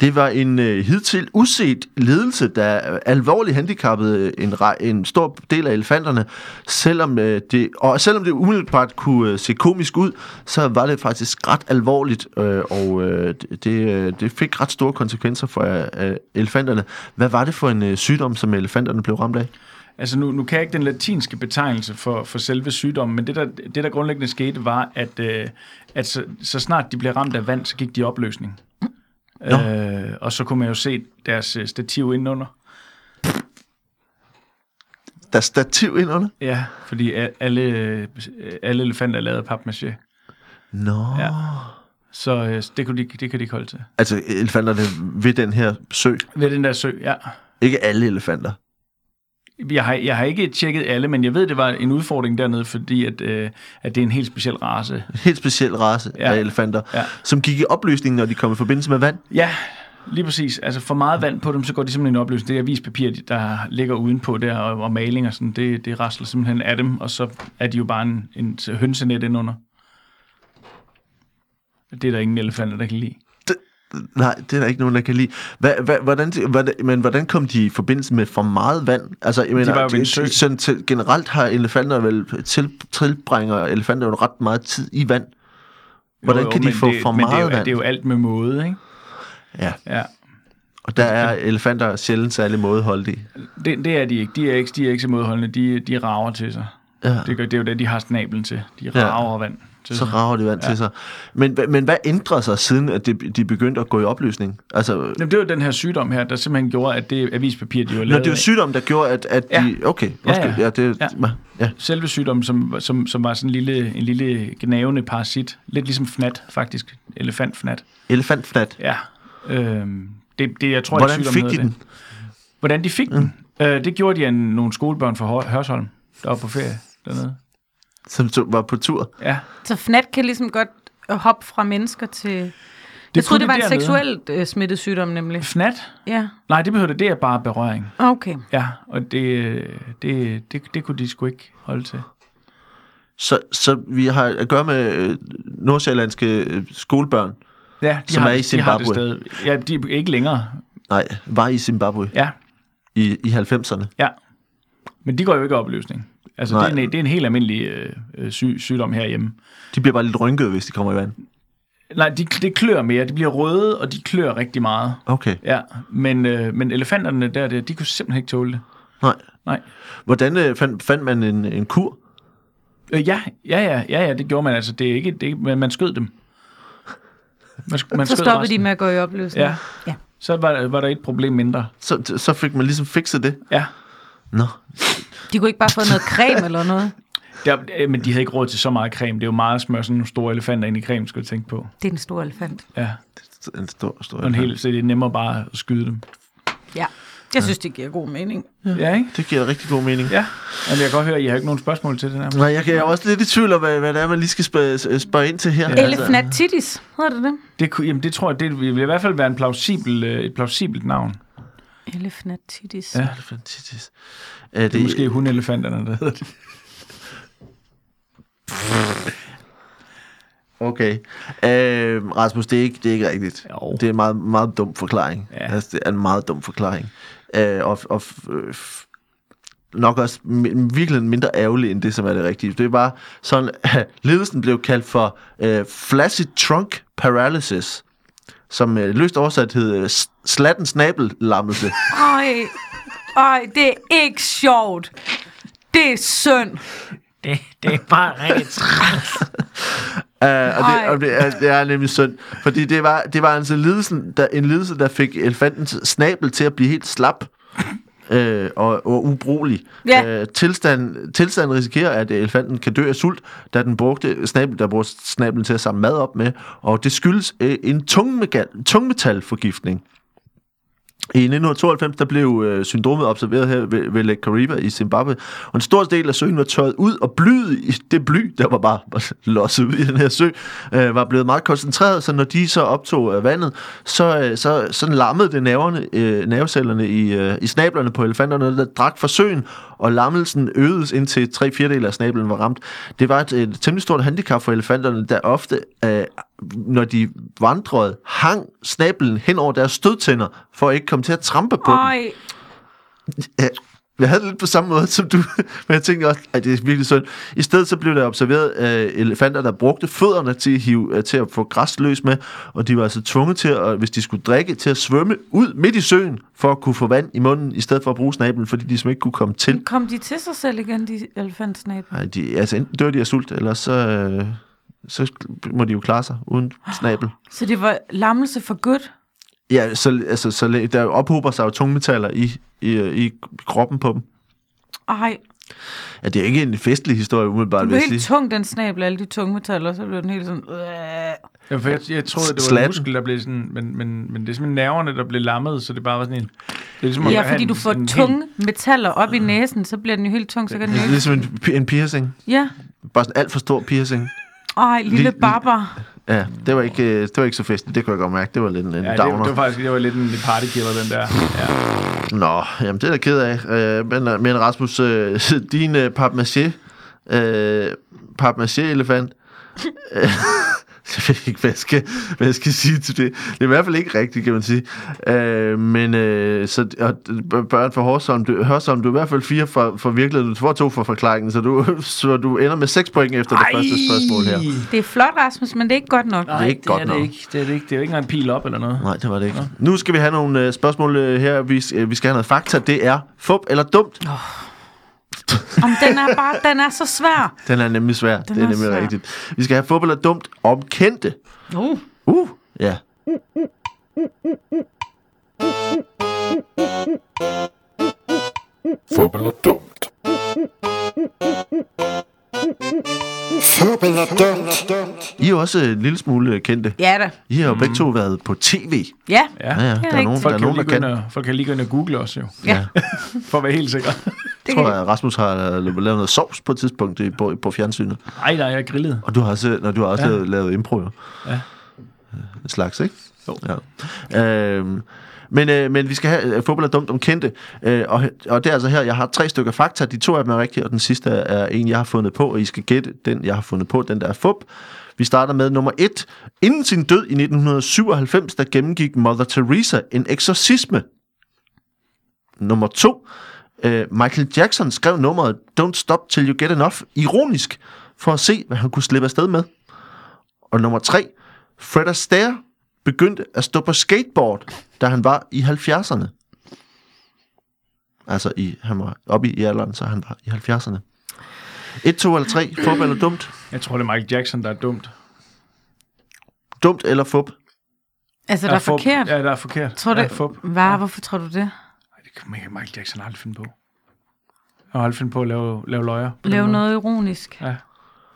[SPEAKER 1] Det var en øh, hidtil uset ledelse, der øh, alvorligt handicappede øh, en, re- en stor del af elefanterne. Selvom, øh, det, og selvom det umiddelbart kunne øh, se komisk ud, så var det faktisk ret alvorligt, øh, og øh, det, øh, det fik ret store konsekvenser for øh, øh, elefanterne. Hvad var det for en øh, sygdom, som elefanterne blev ramt af?
[SPEAKER 3] Altså nu, nu kan jeg ikke den latinske betegnelse for, for selve sygdommen, men det der, det der grundlæggende skete var, at, øh, at så, så snart de blev ramt af vand, så gik de i opløsning. Øh, og så kunne man jo se deres øh, stativ indenunder.
[SPEAKER 1] Der er stativ ind under?
[SPEAKER 3] Ja, fordi a- alle, øh, alle elefanter er lavet af papmaché.
[SPEAKER 1] Nå.
[SPEAKER 3] Ja. Så øh, det, kunne de, det kan de ikke holde til.
[SPEAKER 1] Altså elefanterne ved den her sø.
[SPEAKER 3] Ved den der sø, ja.
[SPEAKER 1] Ikke alle elefanter.
[SPEAKER 3] Jeg har, jeg har ikke tjekket alle, men jeg ved, det var en udfordring dernede, fordi at, øh, at det er en helt speciel race.
[SPEAKER 1] En helt speciel race ja.
[SPEAKER 3] Ja.
[SPEAKER 1] af elefanter, ja.
[SPEAKER 3] Ja.
[SPEAKER 1] som gik i opløsning, når de kom i forbindelse med vand.
[SPEAKER 3] Ja, lige præcis. Altså for meget vand på dem, så går de simpelthen i opløsning. Det er avispapir, de- der ligger udenpå der, og, og maling og sådan, det, det rasler simpelthen af dem, og så er de jo bare en, en hønsenet indenunder. Det er der ingen elefanter, der kan lide.
[SPEAKER 1] Nej, det er der ikke nogen, der kan lide. Hva, hva, hvordan, hvordan, men hvordan kom de i forbindelse med for meget vand? Altså, jeg mener,
[SPEAKER 3] var jo ved en sø.
[SPEAKER 1] Sådan, til, generelt har elefanter vel til, tilbringer elefanter jo ret meget tid i vand. Hvordan kan de
[SPEAKER 3] men
[SPEAKER 1] få
[SPEAKER 3] det,
[SPEAKER 1] for
[SPEAKER 3] men det er
[SPEAKER 1] meget
[SPEAKER 3] jo,
[SPEAKER 1] vand?
[SPEAKER 3] Det er jo alt med måde, ikke?
[SPEAKER 1] Ja,
[SPEAKER 3] Ja.
[SPEAKER 1] og der er elefanter sjældent særlig mådeholdige.
[SPEAKER 3] Det, det er de ikke. De er ikke, de er ikke så modholdende. De, de rager til sig.
[SPEAKER 1] Ja.
[SPEAKER 3] Det, gør, det er jo det, de har snablen til. De
[SPEAKER 1] Ja.
[SPEAKER 3] rager ja. vand til
[SPEAKER 1] Så
[SPEAKER 3] sig.
[SPEAKER 1] rager de vand ja. til sig. Men, hva- men hvad ændrer sig, siden at de, de begyndte at gå i opløsning? Altså,
[SPEAKER 3] Jamen, det var den her sygdom her, der simpelthen gjorde, at det avispapir, de var
[SPEAKER 1] Nå,
[SPEAKER 3] lavet
[SPEAKER 1] det var
[SPEAKER 3] af-
[SPEAKER 1] sygdom, der gjorde, at, at ja.
[SPEAKER 3] Ja.
[SPEAKER 1] de... Okay,
[SPEAKER 3] Ja,
[SPEAKER 1] måske, ja,
[SPEAKER 3] ja.
[SPEAKER 1] ja. det, ja.
[SPEAKER 3] Ja.
[SPEAKER 1] ja.
[SPEAKER 3] selve sygdommen, som, som, som var sådan en lille, en lille gnavende parasit. Lidt ligesom fnat, faktisk. Elefantfnat.
[SPEAKER 1] Elefantfnat.
[SPEAKER 3] Ja. Øhm, det, det, jeg tror,
[SPEAKER 1] Hvordan
[SPEAKER 3] ikke,
[SPEAKER 1] fik
[SPEAKER 3] sygdommen
[SPEAKER 1] de
[SPEAKER 3] hedder
[SPEAKER 1] den?
[SPEAKER 3] Det. hvordan de fik mm. den. Øh, det gjorde de af nogle skolebørn fra Hør- Hørsholm, der var på ferie dernede.
[SPEAKER 1] som så var på tur.
[SPEAKER 3] Ja.
[SPEAKER 2] Så FNAT kan ligesom godt hoppe fra mennesker til... Det jeg troede,
[SPEAKER 3] kunne
[SPEAKER 2] det var
[SPEAKER 3] de
[SPEAKER 2] en
[SPEAKER 3] dernede.
[SPEAKER 2] seksuelt øh, smittet sygdom, nemlig.
[SPEAKER 3] Fnat?
[SPEAKER 2] Ja,
[SPEAKER 3] Nej, det behøver det. Det er bare berøring.
[SPEAKER 2] okay.
[SPEAKER 3] Ja, og det, øh, det, det, det kunne de sgu ikke holde til.
[SPEAKER 1] Så, så vi har at gøre med øh, nordsjællandske øh, skolebørn.
[SPEAKER 3] Ja, de
[SPEAKER 1] Som
[SPEAKER 3] har,
[SPEAKER 1] er i
[SPEAKER 3] det- de har det
[SPEAKER 1] Zimbabwe.
[SPEAKER 3] stadig. Ja, de er ikke længere.
[SPEAKER 1] Nej, var i Zimbabwe
[SPEAKER 3] Ja,
[SPEAKER 1] i, i 90'erne.
[SPEAKER 3] ja. Men de går jo ikke i opløsning. Altså, det
[SPEAKER 1] Nej.
[SPEAKER 3] er, en, det er en helt almindelig øh, øh, syg, sygdom herhjemme.
[SPEAKER 1] De bliver bare lidt rynkede, hvis de kommer i vand.
[SPEAKER 3] Nej, de, det klør mere. De bliver røde, og de klør rigtig meget.
[SPEAKER 1] Okay,
[SPEAKER 3] Ja, men, øh, men elefanterne der, der, de kunne simpelthen ikke tåle det.
[SPEAKER 1] nej.
[SPEAKER 3] Nej.
[SPEAKER 1] Hvordan øh, fandt, fandt man en, en kur?
[SPEAKER 3] Øh, ja, ja, ja, ja, ja, det gjorde man. Altså, det er ikke, det er, ikke- men man skød dem. Man, sk- man
[SPEAKER 2] Så
[SPEAKER 3] skød
[SPEAKER 2] stoppede de
[SPEAKER 3] resten.
[SPEAKER 2] med at gå i opløsning.
[SPEAKER 3] Ja.
[SPEAKER 2] ja.
[SPEAKER 3] Så var, var der et problem mindre.
[SPEAKER 1] Så, så fik man ligesom fikset det.
[SPEAKER 3] Ja.
[SPEAKER 1] Nå,
[SPEAKER 2] De kunne ikke bare få noget creme eller noget.
[SPEAKER 3] Der, øh, men de havde ikke råd til så meget creme. Det er jo meget at smøre sådan nogle store elefanter ind i creme, skulle jeg tænke på.
[SPEAKER 2] Det er en stor elefant.
[SPEAKER 3] Ja,
[SPEAKER 1] en stor, stor
[SPEAKER 3] og en hel, så det er nemmere bare at skyde dem.
[SPEAKER 2] Ja. Jeg synes, det giver god mening.
[SPEAKER 3] Ja, ikke?
[SPEAKER 1] Det giver rigtig god mening.
[SPEAKER 3] Ja. Jamen, jeg kan godt høre, at I har ikke nogen spørgsmål til det her.
[SPEAKER 1] Nej, jeg, kan- jeg er også lidt i tvivl om, hvad, hvad det er, man lige skal spørge, øh, spørge ind til her. Altså,
[SPEAKER 3] Ja.
[SPEAKER 2] Elefnatitis, hedder det det?
[SPEAKER 3] Det, kunne- jamen, det tror jeg, det vil i hvert fald være en plausibel, øh, et plausibelt navn.
[SPEAKER 2] Elefnatitis.
[SPEAKER 3] Ja.
[SPEAKER 2] Ja.
[SPEAKER 1] Er det fantastisk? Er
[SPEAKER 3] Det er
[SPEAKER 1] det,
[SPEAKER 3] måske hundelefanterne, der hedder det.
[SPEAKER 1] Okay. Øh, Rasmus, det er ikke, det er ikke rigtigt.
[SPEAKER 3] Jo.
[SPEAKER 1] Det er en meget, meget dum forklaring.
[SPEAKER 3] Ja.
[SPEAKER 1] Altså, det er en meget dum forklaring. Øh, og og øh, f- nok også mi- virkelig mindre ærgerlig end det, som er det rigtige. Det er bare sådan, at ledelsen blev kaldt for øh, flaccid trunk paralysis, som øh, løst oversat hed øh, s- slatten snabelammelse.
[SPEAKER 2] Øj, øj, det er ikke sjovt. Det er synd.
[SPEAKER 4] Det, det er bare rigtig
[SPEAKER 1] Uh, og det,
[SPEAKER 2] Ej.
[SPEAKER 1] og det, er, det er nemlig synd. Fordi det var, det var altså lidelsen, der, en lidelse, der fik elefantens snabel til at blive helt slap. Øh, og, og ubrugelig.
[SPEAKER 2] Ja.
[SPEAKER 1] Øh, tilstand, tilstanden risikerer, at elefanten kan dø af sult, da den brugte snabel, der brugte snabelen til at samle mad op med. Og det skyldes øh, en tungmegal- tungmetalforgiftning. I 1992 der blev øh, syndromet observeret her ved, ved Lake Kariba i Zimbabwe, og en stor del af søen var tørret ud, og blyet i det bly, der var bare losset ud i den her sø, øh, var blevet meget koncentreret, så når de så optog øh, vandet, så, øh, så sådan lammede det nerverne, øh, nervecellerne i, øh, i snablerne på elefanterne, der drak fra søen, og lammelsen øgedes indtil tre fjerdedel af snablen var ramt. Det var et, et temmelig stort handicap for elefanterne, der ofte, øh, når de vandrede, hang snablen hen over deres stødtænder, for at ikke komme til at trampe på dem.
[SPEAKER 2] Øj,
[SPEAKER 1] Ja, jeg havde det lidt på samme måde som du, men jeg tænkte også, at det er virkelig synd. I stedet så blev der observeret øh, elefanter, der brugte fødderne til at, hive, øh, til at få græs løs med, og de var altså tvunget til, at, hvis de skulle drikke, til at svømme ud midt i søen, for at kunne få vand i munden, i stedet for at bruge snablen, fordi de simpelthen ikke kunne komme til.
[SPEAKER 2] kom de til sig selv igen, de elefantsnaber?
[SPEAKER 1] Nej, de, altså enten dør de af sult, eller så, øh, så må de jo klare sig uden snabel.
[SPEAKER 2] Så det var lammelse for godt?
[SPEAKER 1] Ja, så, altså, så læ- der ophober sig jo tungmetaller i, i, i kroppen på dem.
[SPEAKER 2] Ej,
[SPEAKER 1] Ja, det er ikke en festlig historie, umiddelbart.
[SPEAKER 2] det
[SPEAKER 1] vil
[SPEAKER 2] blev
[SPEAKER 1] jeg sige.
[SPEAKER 2] helt tung, den snabel, alle de tunge metaller, så blev den helt sådan... Øh.
[SPEAKER 3] Ja, for jeg, jeg troede, det var
[SPEAKER 1] Slatten.
[SPEAKER 3] en muskel, der blev sådan... Men, men, men det er simpelthen nerverne, der blev lammet, så det bare var sådan en... Det er ligesom at
[SPEAKER 2] Ja,
[SPEAKER 3] have
[SPEAKER 2] fordi
[SPEAKER 3] en-
[SPEAKER 2] du får
[SPEAKER 3] en hel-
[SPEAKER 2] tunge metaller op i næsen, så bliver den jo helt tung, så kan den jo ikke...
[SPEAKER 1] Ligesom en, pi- en piercing.
[SPEAKER 2] Ja,
[SPEAKER 1] Bare sådan alt for stor piercing.
[SPEAKER 2] ej, lille
[SPEAKER 1] Lille-
[SPEAKER 2] barbar.
[SPEAKER 1] Ja, det var ikke, øh, det var ikke så festligt. Det kunne jeg godt mærke. Det var lidt en, en
[SPEAKER 3] Ja, det,
[SPEAKER 1] downer.
[SPEAKER 3] det, var faktisk det var lidt en partykiller, den der. Ja.
[SPEAKER 1] Nå, jamen det er jeg ked af. Øh, men, øh, men Rasmus, øh, din øh, papmaché, øh, papmaché-elefant, øh, jeg ved ikke, hvad jeg, skal, hvad jeg skal sige til det. Det er i hvert fald ikke rigtigt, kan man sige. Øh, men øh, så, og, b- børn fra Hørsholm, du, Hørsholm, du er i hvert fald fire fra, fra virkeligheden, du får to fra forklaringen, så du, så du ender med seks point efter det første spørgsmål her.
[SPEAKER 2] Det er flot, Rasmus, men det er ikke godt nok.
[SPEAKER 3] Nej,
[SPEAKER 1] ikke godt
[SPEAKER 3] er
[SPEAKER 1] nok.
[SPEAKER 3] Det, ikke. det er det ikke. Det er jo ikke engang en pil op eller noget.
[SPEAKER 1] Nej, det var det ikke. Nu skal vi have nogle øh, spørgsmål øh, her. Vi, øh, vi skal have noget fakta. Det er fup eller dumt.
[SPEAKER 2] Om den er bare, den er så svær.
[SPEAKER 1] Den er nemlig svær. Den det er
[SPEAKER 2] er
[SPEAKER 1] nemlig
[SPEAKER 2] svær.
[SPEAKER 1] rigtigt. Vi skal have fup eller dumt om kendte.
[SPEAKER 2] Uh.
[SPEAKER 1] Uh, ja.
[SPEAKER 5] Fup eller dumt? Fuben er dumt.
[SPEAKER 1] I er jo også øh, en lille smule øh, kendte.
[SPEAKER 2] Ja da.
[SPEAKER 1] I har jo begge to været på tv.
[SPEAKER 2] Ja.
[SPEAKER 1] Ja, ja. Der er
[SPEAKER 2] rigtigt.
[SPEAKER 1] nogen, der,
[SPEAKER 3] Folk
[SPEAKER 1] er
[SPEAKER 3] kan, jo
[SPEAKER 1] nogen,
[SPEAKER 3] lige
[SPEAKER 1] der
[SPEAKER 3] gå ind
[SPEAKER 1] kan.
[SPEAKER 3] og, folk kan lige gå ind og google os jo,
[SPEAKER 2] ja.
[SPEAKER 3] for at være helt sikker.
[SPEAKER 1] Jeg tror, at Rasmus har øh, lavet noget sovs på et tidspunkt øh, på, på fjernsynet.
[SPEAKER 3] Nej, nej, jeg grillede.
[SPEAKER 1] Og du har også, når du har også
[SPEAKER 3] Ja.
[SPEAKER 1] ja. lavet, lavet impro, jo.
[SPEAKER 3] Ja.
[SPEAKER 1] En slags, ikke? Jo. Ja. Øhm, men, øh, men vi skal have øh, fodbold er dumt om kendte, øh, og, og det er altså her, jeg har tre stykker fakta, de to af dem er rigtige, og den sidste er, er en, jeg har fundet på, og I skal gætte den, jeg har fundet på, den der er fup. Vi starter med nummer et. Inden sin død i 1997, der gennemgik Mother Teresa en eksorcisme. Nummer to. Øh, Michael Jackson skrev nummeret Don't Stop Till You Get Enough ironisk, for at se, hvad han kunne slippe afsted med. Og nummer tre, Fred Astaire begyndte at stå på skateboard, da han var i 70'erne. Altså, i, han var oppe i alderen, så han var i 70'erne. 1, 2 eller 3, fup eller dumt?
[SPEAKER 3] Jeg tror, det er Michael Jackson, der er dumt.
[SPEAKER 1] Dumt eller fup?
[SPEAKER 2] Altså, der er
[SPEAKER 3] fup.
[SPEAKER 2] forkert.
[SPEAKER 3] Ja, der er forkert.
[SPEAKER 2] Tror du,
[SPEAKER 3] Ja, fup.
[SPEAKER 2] Hva, hvorfor tror du det?
[SPEAKER 3] Ej, det kan Michael- Michael Jackson aldrig finde på. Og aldrig finde på at lave, lave løjer. på den
[SPEAKER 2] Lave
[SPEAKER 3] måde.
[SPEAKER 2] noget ironisk.
[SPEAKER 3] Ja.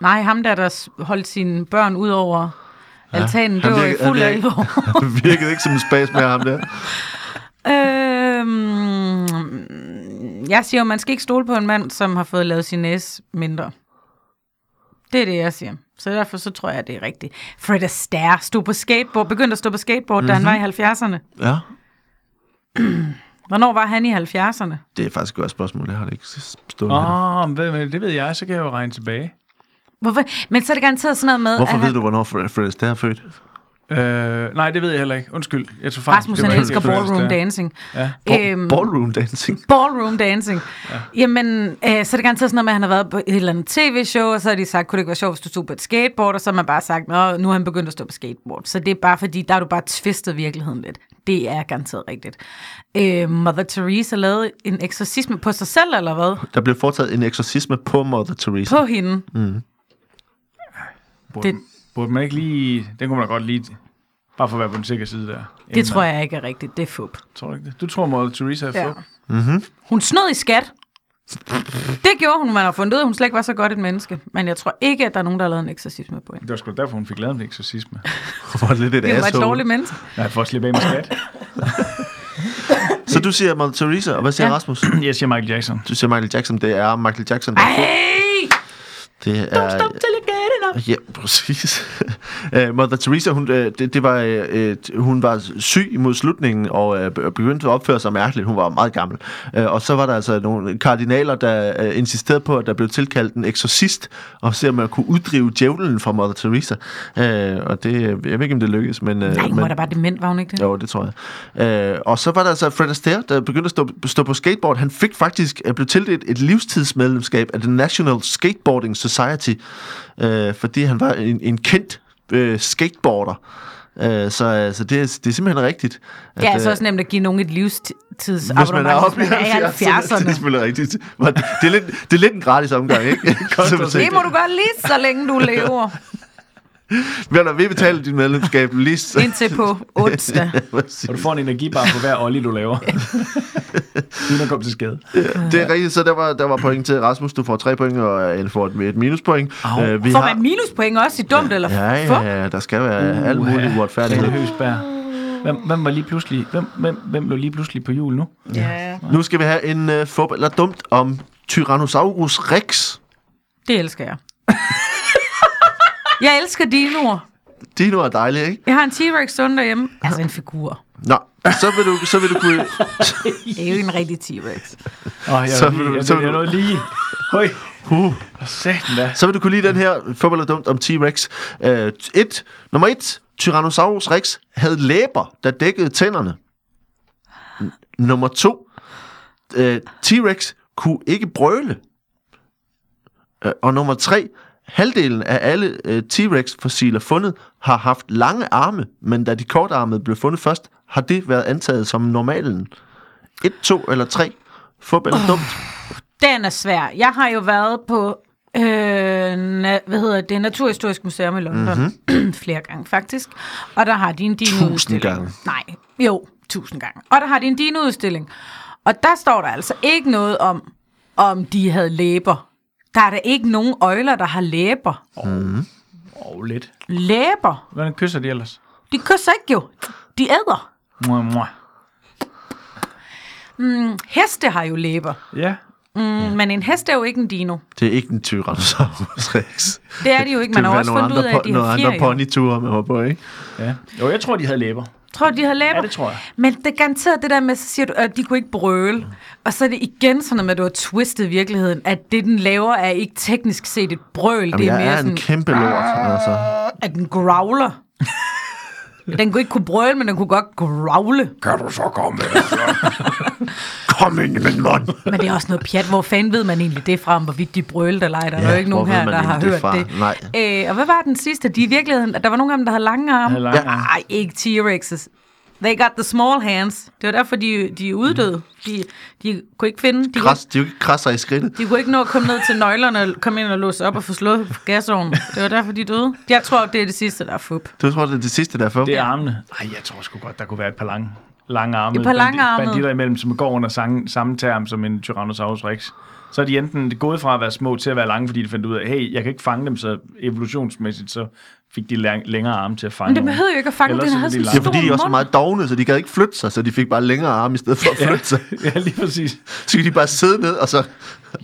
[SPEAKER 2] Nej, ham der, der s- holdt sine børn ud over altanen,
[SPEAKER 1] Han
[SPEAKER 2] det var i
[SPEAKER 1] virker- han
[SPEAKER 2] fuld
[SPEAKER 1] virker-
[SPEAKER 2] alvor.
[SPEAKER 1] Det virkede ikke som en spas med ham der.
[SPEAKER 2] øhm, jeg siger jo, man skal ikke stole på en mand, som har fået lavet sin næse mindre. Det er det, jeg siger. Så derfor så tror jeg, det er rigtigt. Fred Astaire stod på skateboard, begyndte at stå på skateboard,
[SPEAKER 3] Mhm.
[SPEAKER 2] mm-hmm. da han var i 70'erne.
[SPEAKER 1] Ja,
[SPEAKER 2] Hvornår var han i 70'erne?
[SPEAKER 1] det er faktisk et godt spørgsmål, det har det ikke stået oh.
[SPEAKER 3] Åh, oh, men det ved jeg, så kan jeg jo regne tilbage.
[SPEAKER 2] Hvorfor? Men så er det garanteret sådan noget med...
[SPEAKER 1] Hvorfor
[SPEAKER 2] at
[SPEAKER 1] ved du, hvornår Fred Fred Astaire er født?
[SPEAKER 3] Øh, nej, det ved jeg heller ikke. Undskyld. Jeg tog fejl.
[SPEAKER 2] Rasmus,
[SPEAKER 3] Det var
[SPEAKER 2] han
[SPEAKER 3] ikke
[SPEAKER 2] elsker
[SPEAKER 3] det, jeg følte,
[SPEAKER 2] ballroom
[SPEAKER 3] det er.
[SPEAKER 2] dancing.
[SPEAKER 3] Ja.
[SPEAKER 1] Ball-
[SPEAKER 2] Øhm.
[SPEAKER 1] Ballroom dancing.
[SPEAKER 2] Ballroom dancing. Ja. Jamen, øh, så er det garanteret sådan noget med, at han har været på et eller andet tv-show, og så har de sagt, kunne det ikke være sjovt, hvis du stod på et skateboard, og så har man bare sagt, Nå, nu er han begyndt at stå på skateboard. Så det er bare fordi, der har du bare tvistet virkeligheden lidt. Det er garanteret rigtigt. Øh, Mother Teresa lavede en eksorcisme på sig selv, eller hvad?
[SPEAKER 1] Der blev foretaget en eksorcisme på Mother Teresa.
[SPEAKER 2] På hende.
[SPEAKER 3] Burde,
[SPEAKER 2] Det-
[SPEAKER 3] burde man ikke lige... Den kunne man da godt lige... Bare for at være på den sikre side der.
[SPEAKER 2] Det tror jeg ikke er rigtigt. Det er fup.
[SPEAKER 3] Tror du ikke det? Du tror, Mother Teresa er
[SPEAKER 2] Ja.
[SPEAKER 3] fup.
[SPEAKER 2] Hun snød i skat. Det gjorde hun, man har fundet ud af, at hun slet ikke var så godt et menneske. Men jeg tror ikke, at der er nogen, der har lavet en eksorcisme på hende.
[SPEAKER 3] Det var sgu da derfor, hun fik lavet en eksorcisme.
[SPEAKER 1] Hvor lidt et
[SPEAKER 2] Det var et
[SPEAKER 1] asshole.
[SPEAKER 2] dårligt menneske.
[SPEAKER 3] Nej, for at slippe af med skat.
[SPEAKER 1] Så du siger Mother Teresa, og hvad siger
[SPEAKER 2] Ja.
[SPEAKER 1] ja. Rasmus?
[SPEAKER 3] Jeg siger Michael Jackson.
[SPEAKER 1] Du siger Michael Jackson, det er Michael Jackson, der er født.
[SPEAKER 2] Ej!
[SPEAKER 1] Det er...
[SPEAKER 2] Stop til at gøre det nok.
[SPEAKER 1] Ja, præcis. Øh, Mother Teresa, hun, øh, det, det var, øh, øh, hun var syg mod slutningen og øh, be- begyndte at opføre sig mærkeligt. Hun var meget gammel. Øh, og så var der altså nogle kardinaler, der øh, insisterede på, at der blev tilkaldt en eksorcist, og se om man kunne uddrive djævlen fra Mother Teresa. Øh, og det, jeg ved ikke, om det lykkedes, men... Øh,
[SPEAKER 2] Nej, hun
[SPEAKER 1] men,
[SPEAKER 2] var da bare dement, var hun ikke det?
[SPEAKER 1] jo, det tror jeg. Øh, og så var der altså Fred Astaire, der begyndte at stå, stå på skateboard. Han fik faktisk, øh, blev tildelt et livstidsmedlemskab af The National Skateboarding Society, øh, fordi han var en, en kendt øh, skateboarder. Øh, så altså, det, er, det er simpelthen rigtigt. At,
[SPEAKER 2] Ja, altså
[SPEAKER 1] øh,
[SPEAKER 2] også nemt at give nogen et
[SPEAKER 1] hvis man
[SPEAKER 2] livstidsabonnement,
[SPEAKER 1] er oppe i
[SPEAKER 2] hvis man er i
[SPEAKER 1] 70'erne. Det er
[SPEAKER 2] 70'erne.
[SPEAKER 1] selvfølgelig rigtigt. Men Det er, lidt, det er lidt en gratis omgang, ikke? Som at sige.
[SPEAKER 2] Det må du gøre lige så længe du lever,
[SPEAKER 1] Vel, Vi betaler dit medlemskab lige så.
[SPEAKER 2] indtil på onsdag.
[SPEAKER 3] Og du får en energibar på hver olje, du laver. Uden at komme til skade.
[SPEAKER 1] Det er rigtigt, så der var, der var point til Rasmus. Du får tre point, og Anne får et, et minuspoint.
[SPEAKER 3] Au.
[SPEAKER 1] Øh, vi
[SPEAKER 2] Får man minuspoint også i dumt, eller
[SPEAKER 1] Ja,
[SPEAKER 2] fup?
[SPEAKER 1] ja, ja, der skal være uh, alle
[SPEAKER 3] Uha.
[SPEAKER 1] mulige uretfærdigheder.
[SPEAKER 3] Kalle Høsberg. Hvem, hvem var lige pludselig... Hvem, hvem, hvem blev lige pludselig på jul nu?
[SPEAKER 2] ja.
[SPEAKER 1] Nu skal vi have en uh, fup eller dumt om Tyrannosaurus rex.
[SPEAKER 2] Det elsker jeg. Jeg elsker dinoer.
[SPEAKER 1] Dino er dejligt, ikke?
[SPEAKER 2] Jeg har en T-Rex stående derhjemme. Altså en figur.
[SPEAKER 1] Nå, så vil du, så vil du kunne...
[SPEAKER 2] Det er jo ikke en rigtig T-Rex.
[SPEAKER 3] Åh, jeg,
[SPEAKER 1] Så
[SPEAKER 3] så
[SPEAKER 1] vil
[SPEAKER 3] lige,
[SPEAKER 1] du-
[SPEAKER 3] jeg,
[SPEAKER 1] så
[SPEAKER 3] så
[SPEAKER 1] vil
[SPEAKER 3] jeg
[SPEAKER 1] du-
[SPEAKER 3] nåede lige... Høj,
[SPEAKER 1] Uh,
[SPEAKER 3] satan da.
[SPEAKER 1] så vil du kunne lide den her fup eller dumt om T-Rex. Uh, et, nummer et, Tyrannosaurus rex havde læber, der dækkede tænderne. N- nummer to, uh, T-Rex kunne ikke brøle. Øh, Og nummer tre, halvdelen af alle øh, T-Rex-fossiler fundet har haft lange arme, men da de kortarmede blev fundet først, har det været antaget som normalen. Et, to eller tre. Fup eller dumt.
[SPEAKER 2] Den er svær. Jeg har jo været på øh, na- hvad hedder det, Naturhistorisk Museum i London mm-hmm. flere gange faktisk. Og der har de en
[SPEAKER 1] Mhm. Tusind
[SPEAKER 2] dinoudstilling.
[SPEAKER 1] gange.
[SPEAKER 2] Nej, jo, tusind gange. Og der har de en dinoudstilling. Og der står der altså ikke noget om, om de havde læber. Der er da ikke nogen øjler, der har læber.
[SPEAKER 3] Åh, oh, lidt.
[SPEAKER 2] Læber?
[SPEAKER 3] Hvordan kysser de ellers?
[SPEAKER 2] De kysser ikke jo. De æder.
[SPEAKER 3] Mua, mua.
[SPEAKER 2] Mm, heste har jo læber.
[SPEAKER 3] Ja.
[SPEAKER 2] Mm, men en hest er jo ikke en dino.
[SPEAKER 1] Det er ikke en Tyrannosaurus Rex.
[SPEAKER 2] Det er de jo ikke. Man
[SPEAKER 1] det vil
[SPEAKER 2] har også
[SPEAKER 1] være
[SPEAKER 2] fundet ud af, at de
[SPEAKER 1] nogle
[SPEAKER 2] har
[SPEAKER 1] andre,
[SPEAKER 2] fjer.
[SPEAKER 1] po-
[SPEAKER 2] jo.
[SPEAKER 1] nogle andre ponyture, man var på, ikke?
[SPEAKER 3] ja. Jo, jeg tror, de havde læber.
[SPEAKER 2] Tror du, de har læber?
[SPEAKER 3] Ja, det tror jeg.
[SPEAKER 2] Men det er garanteret det der med, så siger du, at de kunne ikke brøle. Og så er det igen sådan noget med, at du har twistet virkeligheden, at det, den laver, er ikke teknisk set et brøl.
[SPEAKER 1] Jamen,
[SPEAKER 2] det er
[SPEAKER 1] jeg
[SPEAKER 2] mere
[SPEAKER 1] er
[SPEAKER 2] sådan, Ah.
[SPEAKER 1] en kæmpe lort, altså.
[SPEAKER 2] at den growler. den kunne ikke kunne brøle, men den kunne godt growle.
[SPEAKER 1] Kom ind i min mund!
[SPEAKER 2] Men det er også noget pjat. Hvor fanden ved man egentlig det fra, om hvorvidt de brølte eller ej? Der er
[SPEAKER 1] Ja,
[SPEAKER 2] jo ikke nogen
[SPEAKER 1] hvor ved
[SPEAKER 2] her,
[SPEAKER 1] man
[SPEAKER 2] der har
[SPEAKER 1] egentlig
[SPEAKER 2] hørt
[SPEAKER 1] det
[SPEAKER 2] det.
[SPEAKER 1] fra?
[SPEAKER 2] Øh, og hvad var den sidste? De i virkeligheden, der var nogle af dem, der havde lange arme.
[SPEAKER 3] Havde lange Ja. arme.
[SPEAKER 2] Nej, ikke T-Rexes. They got the small hands. Det var derfor, de, de er uddøde. De, de kunne ikke finde... De, kunne,
[SPEAKER 1] Kras, de er jo ikke krasser i skridtet.
[SPEAKER 2] de kunne ikke nå at komme ned til nøglerne, og komme ind og låse op og få slået gasovnen. Det var derfor, de døde. Jeg tror, det er det sidste, der er fup.
[SPEAKER 1] Du tror, det er det sidste, der er for?
[SPEAKER 3] Det er armene. Nej, jeg tror sgu godt, der kunne være et par lange, lange arme.
[SPEAKER 2] Et par lange arme.
[SPEAKER 3] Banditter imellem, som går under sang, samme term som en Tyrannosaurus rex. Så er de enten gået fra at være små til at være lange, fordi de fandt ud af, hey, jeg kan ikke fange dem, så evolutionsmæssigt, så fik de lang, længere arme til at fange
[SPEAKER 2] Men det
[SPEAKER 3] nogen.
[SPEAKER 2] behøvede jo ikke at fange,
[SPEAKER 3] Ellers
[SPEAKER 2] den
[SPEAKER 3] så
[SPEAKER 2] havde
[SPEAKER 3] ville
[SPEAKER 2] sådan
[SPEAKER 3] de
[SPEAKER 1] Ja,
[SPEAKER 2] en stor
[SPEAKER 1] fordi de er også
[SPEAKER 2] mund.
[SPEAKER 1] meget dogne, så de gad ikke flytte sig, så de fik bare længere arme i stedet for at flytte sig.
[SPEAKER 3] Ja, lige præcis.
[SPEAKER 1] Så kan de bare sidde ned, og så,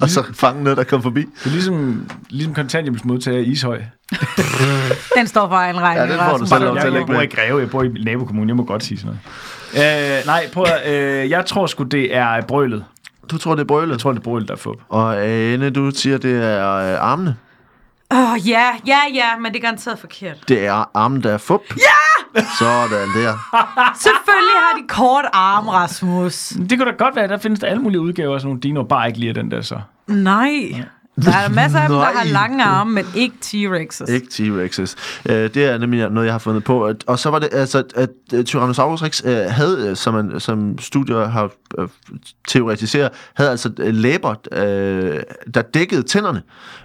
[SPEAKER 1] og så fange noget, der kom forbi.
[SPEAKER 3] Det er ligesom, ligesom kontanthjælpsmodtager i Ishøj.
[SPEAKER 2] Den står for egen regning.
[SPEAKER 1] Ja, den får du
[SPEAKER 2] Rasmus.
[SPEAKER 1] selv lov
[SPEAKER 3] Jeg,
[SPEAKER 1] til at
[SPEAKER 3] jeg
[SPEAKER 1] lægge med.
[SPEAKER 3] bor i Greve, jeg bor i nabokommunen, jeg må godt sige sådan noget. Øh, nej, prøv at, øh, jeg tror sgu, det er brølet.
[SPEAKER 1] Du tror, det er brølet?
[SPEAKER 3] Jeg tror, det er brølet, der er fup.
[SPEAKER 1] Og Anne, du siger, det er øh, armene.
[SPEAKER 2] Åh, oh, ja, ja, ja, men det er garanteret forkert.
[SPEAKER 1] Det er armen, der er fup. Ja! Sådan der.
[SPEAKER 2] Selvfølgelig har de kort arm, Rasmus.
[SPEAKER 3] Det kunne da godt være, der findes der alle mulige udgaver af sådan nogle dinoer, bare ikke lige af den der så.
[SPEAKER 2] Nej. Der er masser af dem, der
[SPEAKER 1] Nej.
[SPEAKER 2] har lange arme, men ikke T-Rex'er.
[SPEAKER 1] Ikke T-Rexes. Øh, det er nemlig noget, jeg har fundet på. At- Og så var det altså, at øh, Tyrannosaurus Rex øh, havde, øh, som, man, som studier har øh, teoretiseret, havde altså øh, læber, øh, der dækkede tænderne.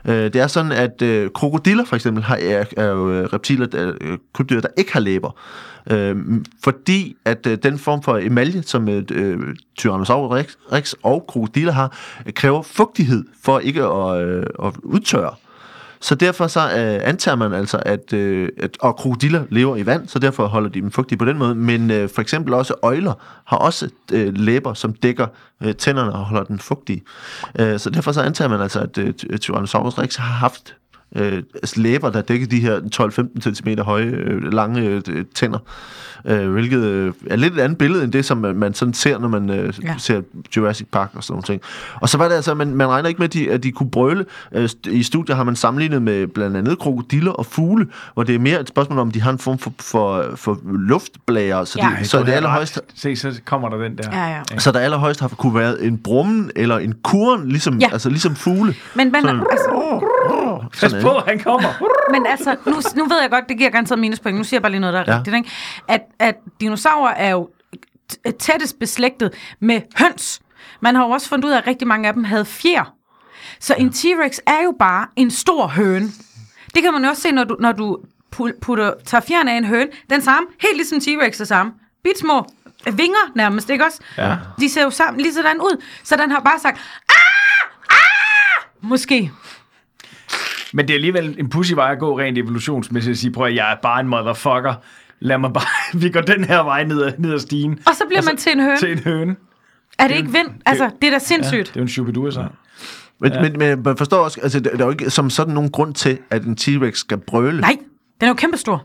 [SPEAKER 1] Øh, det er sådan, at øh, krokodiller for eksempel har, er, er jo øh, reptiler, der, øh, krybdyr, der ikke har læber. Øh, fordi at øh, den form for emalje, som øh, øh, Tyrannosaurus Rex, Rex og krokodiller har, øh, kræver fugtighed for ikke at, øh, at udtørre. Så derfor så øh, antager man altså, at, øh, at og krokodiller lever i vand, så derfor holder de dem fugtige på den måde. Men øh, for eksempel også øjler har også øh, læber, som dækker øh, tænderne og holder den fugtige. Øh, så derfor så antager man altså, at øh, Ty- Tyrannosaurus rex har haft øh, altså læber, der dækkede de her 12-15 cm høje, øh, lange øh, øh, tænder. Øh, hvilket øh, er lidt et andet billede, end det, som øh, man sådan ser, når man øh, ja.
[SPEAKER 2] Ja.
[SPEAKER 1] ser Jurassic Park og sådan nogle ting. Og så var det altså, man, man regner ikke med, at de, at de kunne brøle. Øh, st- I studier har man sammenlignet med blandt andet krokodiller og fugle, hvor det er mere et spørgsmål om, de har en form for, for, for luftblære, så,
[SPEAKER 2] Ja.
[SPEAKER 1] de, så det allerhøjeste...
[SPEAKER 3] Se, så kommer der den der.
[SPEAKER 2] Ja, ja.
[SPEAKER 1] Så der allerhøjst har kunne være en brummen eller en kurn, ligesom, ja.
[SPEAKER 2] Ja.
[SPEAKER 1] altså, ligesom fugle.
[SPEAKER 2] Men, men, altså,
[SPEAKER 3] Pas
[SPEAKER 1] Sådan,
[SPEAKER 3] på,
[SPEAKER 1] ikke?
[SPEAKER 3] han kommer.
[SPEAKER 2] men altså, nu, nu ved jeg godt, det giver garanteret minuspoint. Nu siger jeg bare lige noget, der er
[SPEAKER 1] Ja.
[SPEAKER 2] ja. rigtigt. Ikke? At, at dinosaurer er jo t- tættest beslægtet med høns. Man har jo også fundet ud af, at rigtig mange af dem havde fjer. Så en T-Rex er jo bare en stor høne. Det kan man jo også se, når du, når du pu- putter, tager fjeren af en høne. Den samme, helt ligesom T-Rex er samme. Bit små vinger nærmest, ikke også? Ja. De ser jo sammen lige sådan ud. Så den har bare sagt, ah! Ah! Måske.
[SPEAKER 3] Men det er alligevel en pussy vej at gå rent evolutionsmæssigt og sige, prøv at jeg er bare en motherfucker. Lad mig bare, vi går den her vej ned ad, ned ad stigen.
[SPEAKER 2] Og så bliver man Altså, til en høne.
[SPEAKER 3] Til en høne.
[SPEAKER 2] Er det ikke vind? Altså, det er da
[SPEAKER 3] Ja,
[SPEAKER 2] sindssygt.
[SPEAKER 3] det er jo en chubidur, så.
[SPEAKER 1] Men, ja. men, men man forstår også, altså, der der er jo ikke som sådan nogen grund til, at en T-Rex skal brøle.
[SPEAKER 2] Nej, den er jo kæmpestor.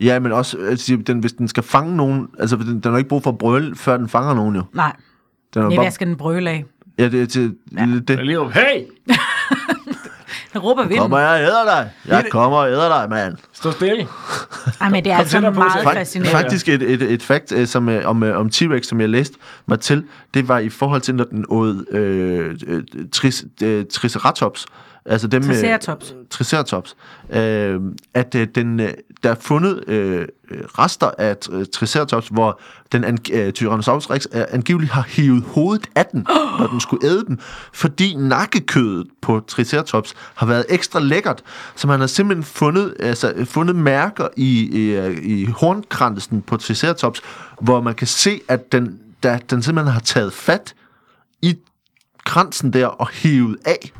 [SPEAKER 1] Ja, men også, altså, den, hvis den skal fange nogen, altså den, den har ikke brug for at brøle, før den fanger nogen jo.
[SPEAKER 2] Nej,
[SPEAKER 1] Den er jo
[SPEAKER 2] det er,
[SPEAKER 1] bare,
[SPEAKER 2] hvad skal den brøle af?
[SPEAKER 1] ja, det er til ja. det.
[SPEAKER 3] Jeg lige råber, hey!
[SPEAKER 2] Den råber vinden.
[SPEAKER 1] Kommer jeg og æder dig? Jeg kommer og æder dig, mand.
[SPEAKER 3] Stå stille.
[SPEAKER 2] Ej, men det er altså
[SPEAKER 3] tættere på,
[SPEAKER 2] meget
[SPEAKER 3] så-
[SPEAKER 1] Fak-
[SPEAKER 2] fascinerende.
[SPEAKER 1] Faktisk et, et, et fakt øh, som, øh, om, øh, om T-Rex, som jeg læste mig til, det var i forhold til, når den åd øh, øh, tris, øh, Triceratops, altså dem med-
[SPEAKER 2] Triceratops.
[SPEAKER 1] Triceratops, øh, at øh, den, øh, der er fundet øh, øh, rester af tr- Triceratops, hvor den an- øh, Tyrannosaurus rex øh, angiveligt har hivet hovedet af den, oh. når den skulle æde den, fordi nakkekødet på Triceratops har været ekstra lækkert, så man har simpelthen fundet, altså, øh, fundet mærker i, i, øh, i hornkransen på Triceratops, hvor man kan se, at den, der, den simpelthen har taget fat i kransen der og hivet af.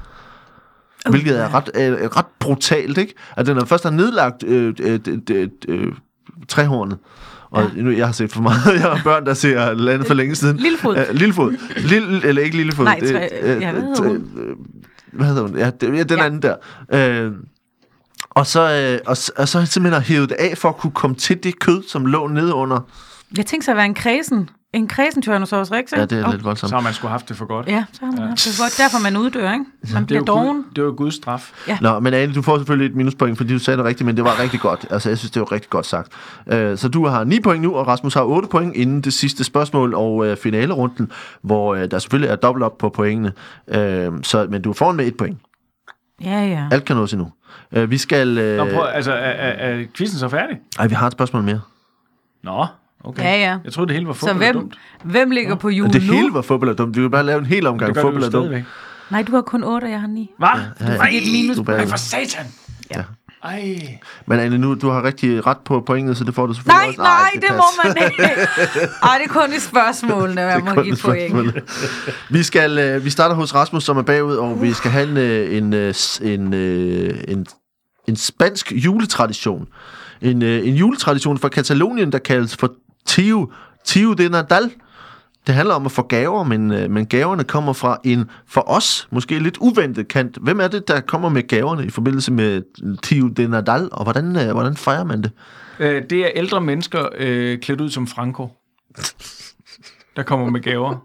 [SPEAKER 1] hvilket er ret, øh, ret brutalt, ikke? At den er først har nedlagt øh, øh, d- d- d- øh, træhornet, og ja. nu, jeg har set for meget. Jeg har børn, der ser landet for længe siden.
[SPEAKER 2] Lillefod.
[SPEAKER 1] Øh, Lillefod. Lille, eller ikke Lillefod.
[SPEAKER 2] Nej,
[SPEAKER 1] Det-
[SPEAKER 2] træ-
[SPEAKER 1] øh,
[SPEAKER 2] ja, hvad hedder
[SPEAKER 1] træ-
[SPEAKER 2] hun?
[SPEAKER 1] øh, Hvad hedder hun? Ja, det, ja den
[SPEAKER 2] Ja.
[SPEAKER 1] ja. anden der. Øh, og så, øh, og, s- og så har jeg simpelthen har hævet det af for at kunne komme til det kød, som lå nede under.
[SPEAKER 2] Jeg tænkte så at være en kredsen. En kredsen Tyrannosaurus Rex, ikke?
[SPEAKER 1] Ja, det er
[SPEAKER 2] Åh,
[SPEAKER 1] lidt voldsomt.
[SPEAKER 3] Så har man sgu haft det for godt.
[SPEAKER 2] Ja, så har man haft det godt. Derfor man uddør, ikke? Man
[SPEAKER 3] det, er
[SPEAKER 2] bliver
[SPEAKER 3] jo
[SPEAKER 2] doven.
[SPEAKER 3] Gud, det er jo Guds straf.
[SPEAKER 1] Nå, men Ane, du får selvfølgelig et minuspoint, fordi du sagde det rigtigt, men det var rigtig godt. Altså, jeg synes, det var rigtig godt sagt. Øh, så du har 9 point nu, og Rasmus har 8 point inden det sidste spørgsmål og øh, finalerunden, hvor øh, der selvfølgelig er dobbelt op på pointene. Øh, så, men du er foran med et point.
[SPEAKER 2] Ja, ja.
[SPEAKER 1] Alt kan nås endnu. Øh, vi skal... Øh,
[SPEAKER 3] Nå, prøv, altså, er, er, er quizzen så færdig?
[SPEAKER 1] ej, vi har et spørgsmål mere.
[SPEAKER 3] Nå, okay.
[SPEAKER 2] Ja, ja.
[SPEAKER 3] Jeg troede, det hele var
[SPEAKER 2] Så
[SPEAKER 3] fugt
[SPEAKER 2] hvem,
[SPEAKER 3] dumt.
[SPEAKER 2] hvem ligger på jul
[SPEAKER 1] Det
[SPEAKER 2] nu?
[SPEAKER 1] hele var fodbold og dumt. Vi kan bare lave en hel
[SPEAKER 3] Det
[SPEAKER 1] omgang
[SPEAKER 3] gør
[SPEAKER 1] fodbold
[SPEAKER 3] du
[SPEAKER 1] og dumt.
[SPEAKER 3] stadigvæk.
[SPEAKER 2] Nej, du har kun 8, og jeg har 9.
[SPEAKER 3] Hvad?
[SPEAKER 1] Ja, ja.
[SPEAKER 3] Ej,
[SPEAKER 2] Fordi et minus...
[SPEAKER 1] Du er bagud.
[SPEAKER 3] for satan!
[SPEAKER 2] Ja.
[SPEAKER 3] Ej.
[SPEAKER 1] Men Anne, nu, du har rigtig ret på pointet, så det får du selvfølgelig
[SPEAKER 2] Nej,
[SPEAKER 1] også.
[SPEAKER 2] nej, det må
[SPEAKER 1] passer.
[SPEAKER 2] man ikke. Ej, det er kun i spørgsmålene, jeg må give point.
[SPEAKER 1] Vi, skal, øh, vi starter hos Rasmus, som er bagud, og
[SPEAKER 2] Uh.
[SPEAKER 1] vi skal have en, øh, en, øh, s- en, øh, en, en spansk juletradition. En, øh, en juletradition fra Katalonien, der kaldes for Tio, Tio de Nadal. Det handler om at få gaver, men, øh, men gaverne kommer fra en, for os, måske lidt uventet kant. Hvem er det, der kommer med gaverne i forbindelse med Tio de Nadal, og hvordan, øh, hvordan fejrer man det?
[SPEAKER 3] Øh, det er ældre mennesker øh, klædt ud som Franco, der kommer med gaver.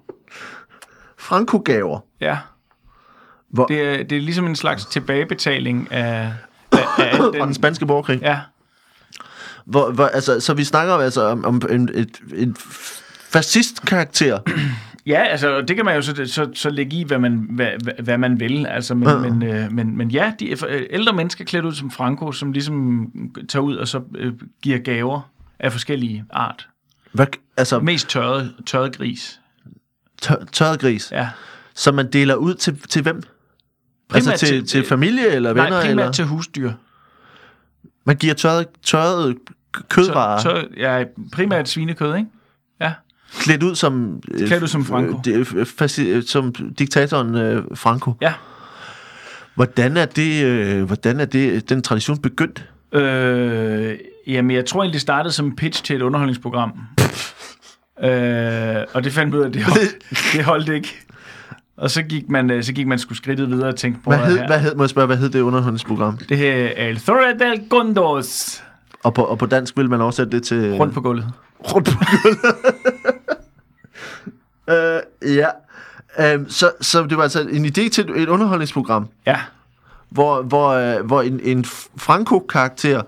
[SPEAKER 1] Franco-gaver.
[SPEAKER 3] Ja.
[SPEAKER 1] Hvor-
[SPEAKER 3] Det, er, det er ligesom en slags tilbagebetaling af, af, af al
[SPEAKER 1] Fra den
[SPEAKER 3] den...
[SPEAKER 1] spanske borgerkrig.
[SPEAKER 3] Ja,
[SPEAKER 1] Hvor, hvor, altså, så vi snakker altså om, om en, et, en fascist-karakter.
[SPEAKER 3] Ja, altså, og det kan man jo så, så, så lægge i, hvad man, hvad, hvad- hvad man vil. Altså, men,
[SPEAKER 1] Ja.
[SPEAKER 3] ja. Men, øh, men, men ja, de er- øh, ældre mennesker klædt ud som Franco, som ligesom tager ud og så øh, giver gaver af forskellige art.
[SPEAKER 1] Hvad, altså,
[SPEAKER 3] Mest tørret, tørret gris.
[SPEAKER 1] tør, tørret gris,
[SPEAKER 3] Ja.
[SPEAKER 1] som man deler ud til, til hvem? Primært altså til,
[SPEAKER 3] til-
[SPEAKER 1] til familie eller
[SPEAKER 3] Nej,
[SPEAKER 1] venner?
[SPEAKER 3] primært
[SPEAKER 1] eller?
[SPEAKER 3] til husdyr.
[SPEAKER 1] Man giver tørret, tørret k-
[SPEAKER 3] Tør,
[SPEAKER 1] kødvarer
[SPEAKER 3] tør, ja, primært svinekød, ikke? Ja.
[SPEAKER 1] klædt ud som... øh,
[SPEAKER 3] Klædt ud som
[SPEAKER 1] f-
[SPEAKER 3] Franco.
[SPEAKER 1] øh, det- øh, faci- øh, som diktatoren øh, Franco.
[SPEAKER 3] ja.
[SPEAKER 1] Hvordan er det, øh, hvordan er det den tradition begyndt?
[SPEAKER 3] Øh, jamen, jeg tror egentlig, det startede som pitch til et underholdningsprogram. øh, og det fandt vi ud af, at det holdt, det holdt ikke. Og så gik man, øh, så gik man sgu skridtet videre og tænkte, prøv
[SPEAKER 1] Hvad
[SPEAKER 3] at
[SPEAKER 1] hed,
[SPEAKER 3] her.
[SPEAKER 1] hvad hed, må jeg spørge, hvad hed det underholdningsprogram?
[SPEAKER 3] Det her er El Thora del Gondos.
[SPEAKER 1] Og på, og på dansk vil man oversætte det til...
[SPEAKER 3] Rundt på gulvet.
[SPEAKER 1] rundt på gulvet. øh, ja. Øhm, så, så det var altså en idé til et underholdningsprogram,
[SPEAKER 3] Ja,
[SPEAKER 1] hvor, hvor, øh, hvor en, en Franco-karakter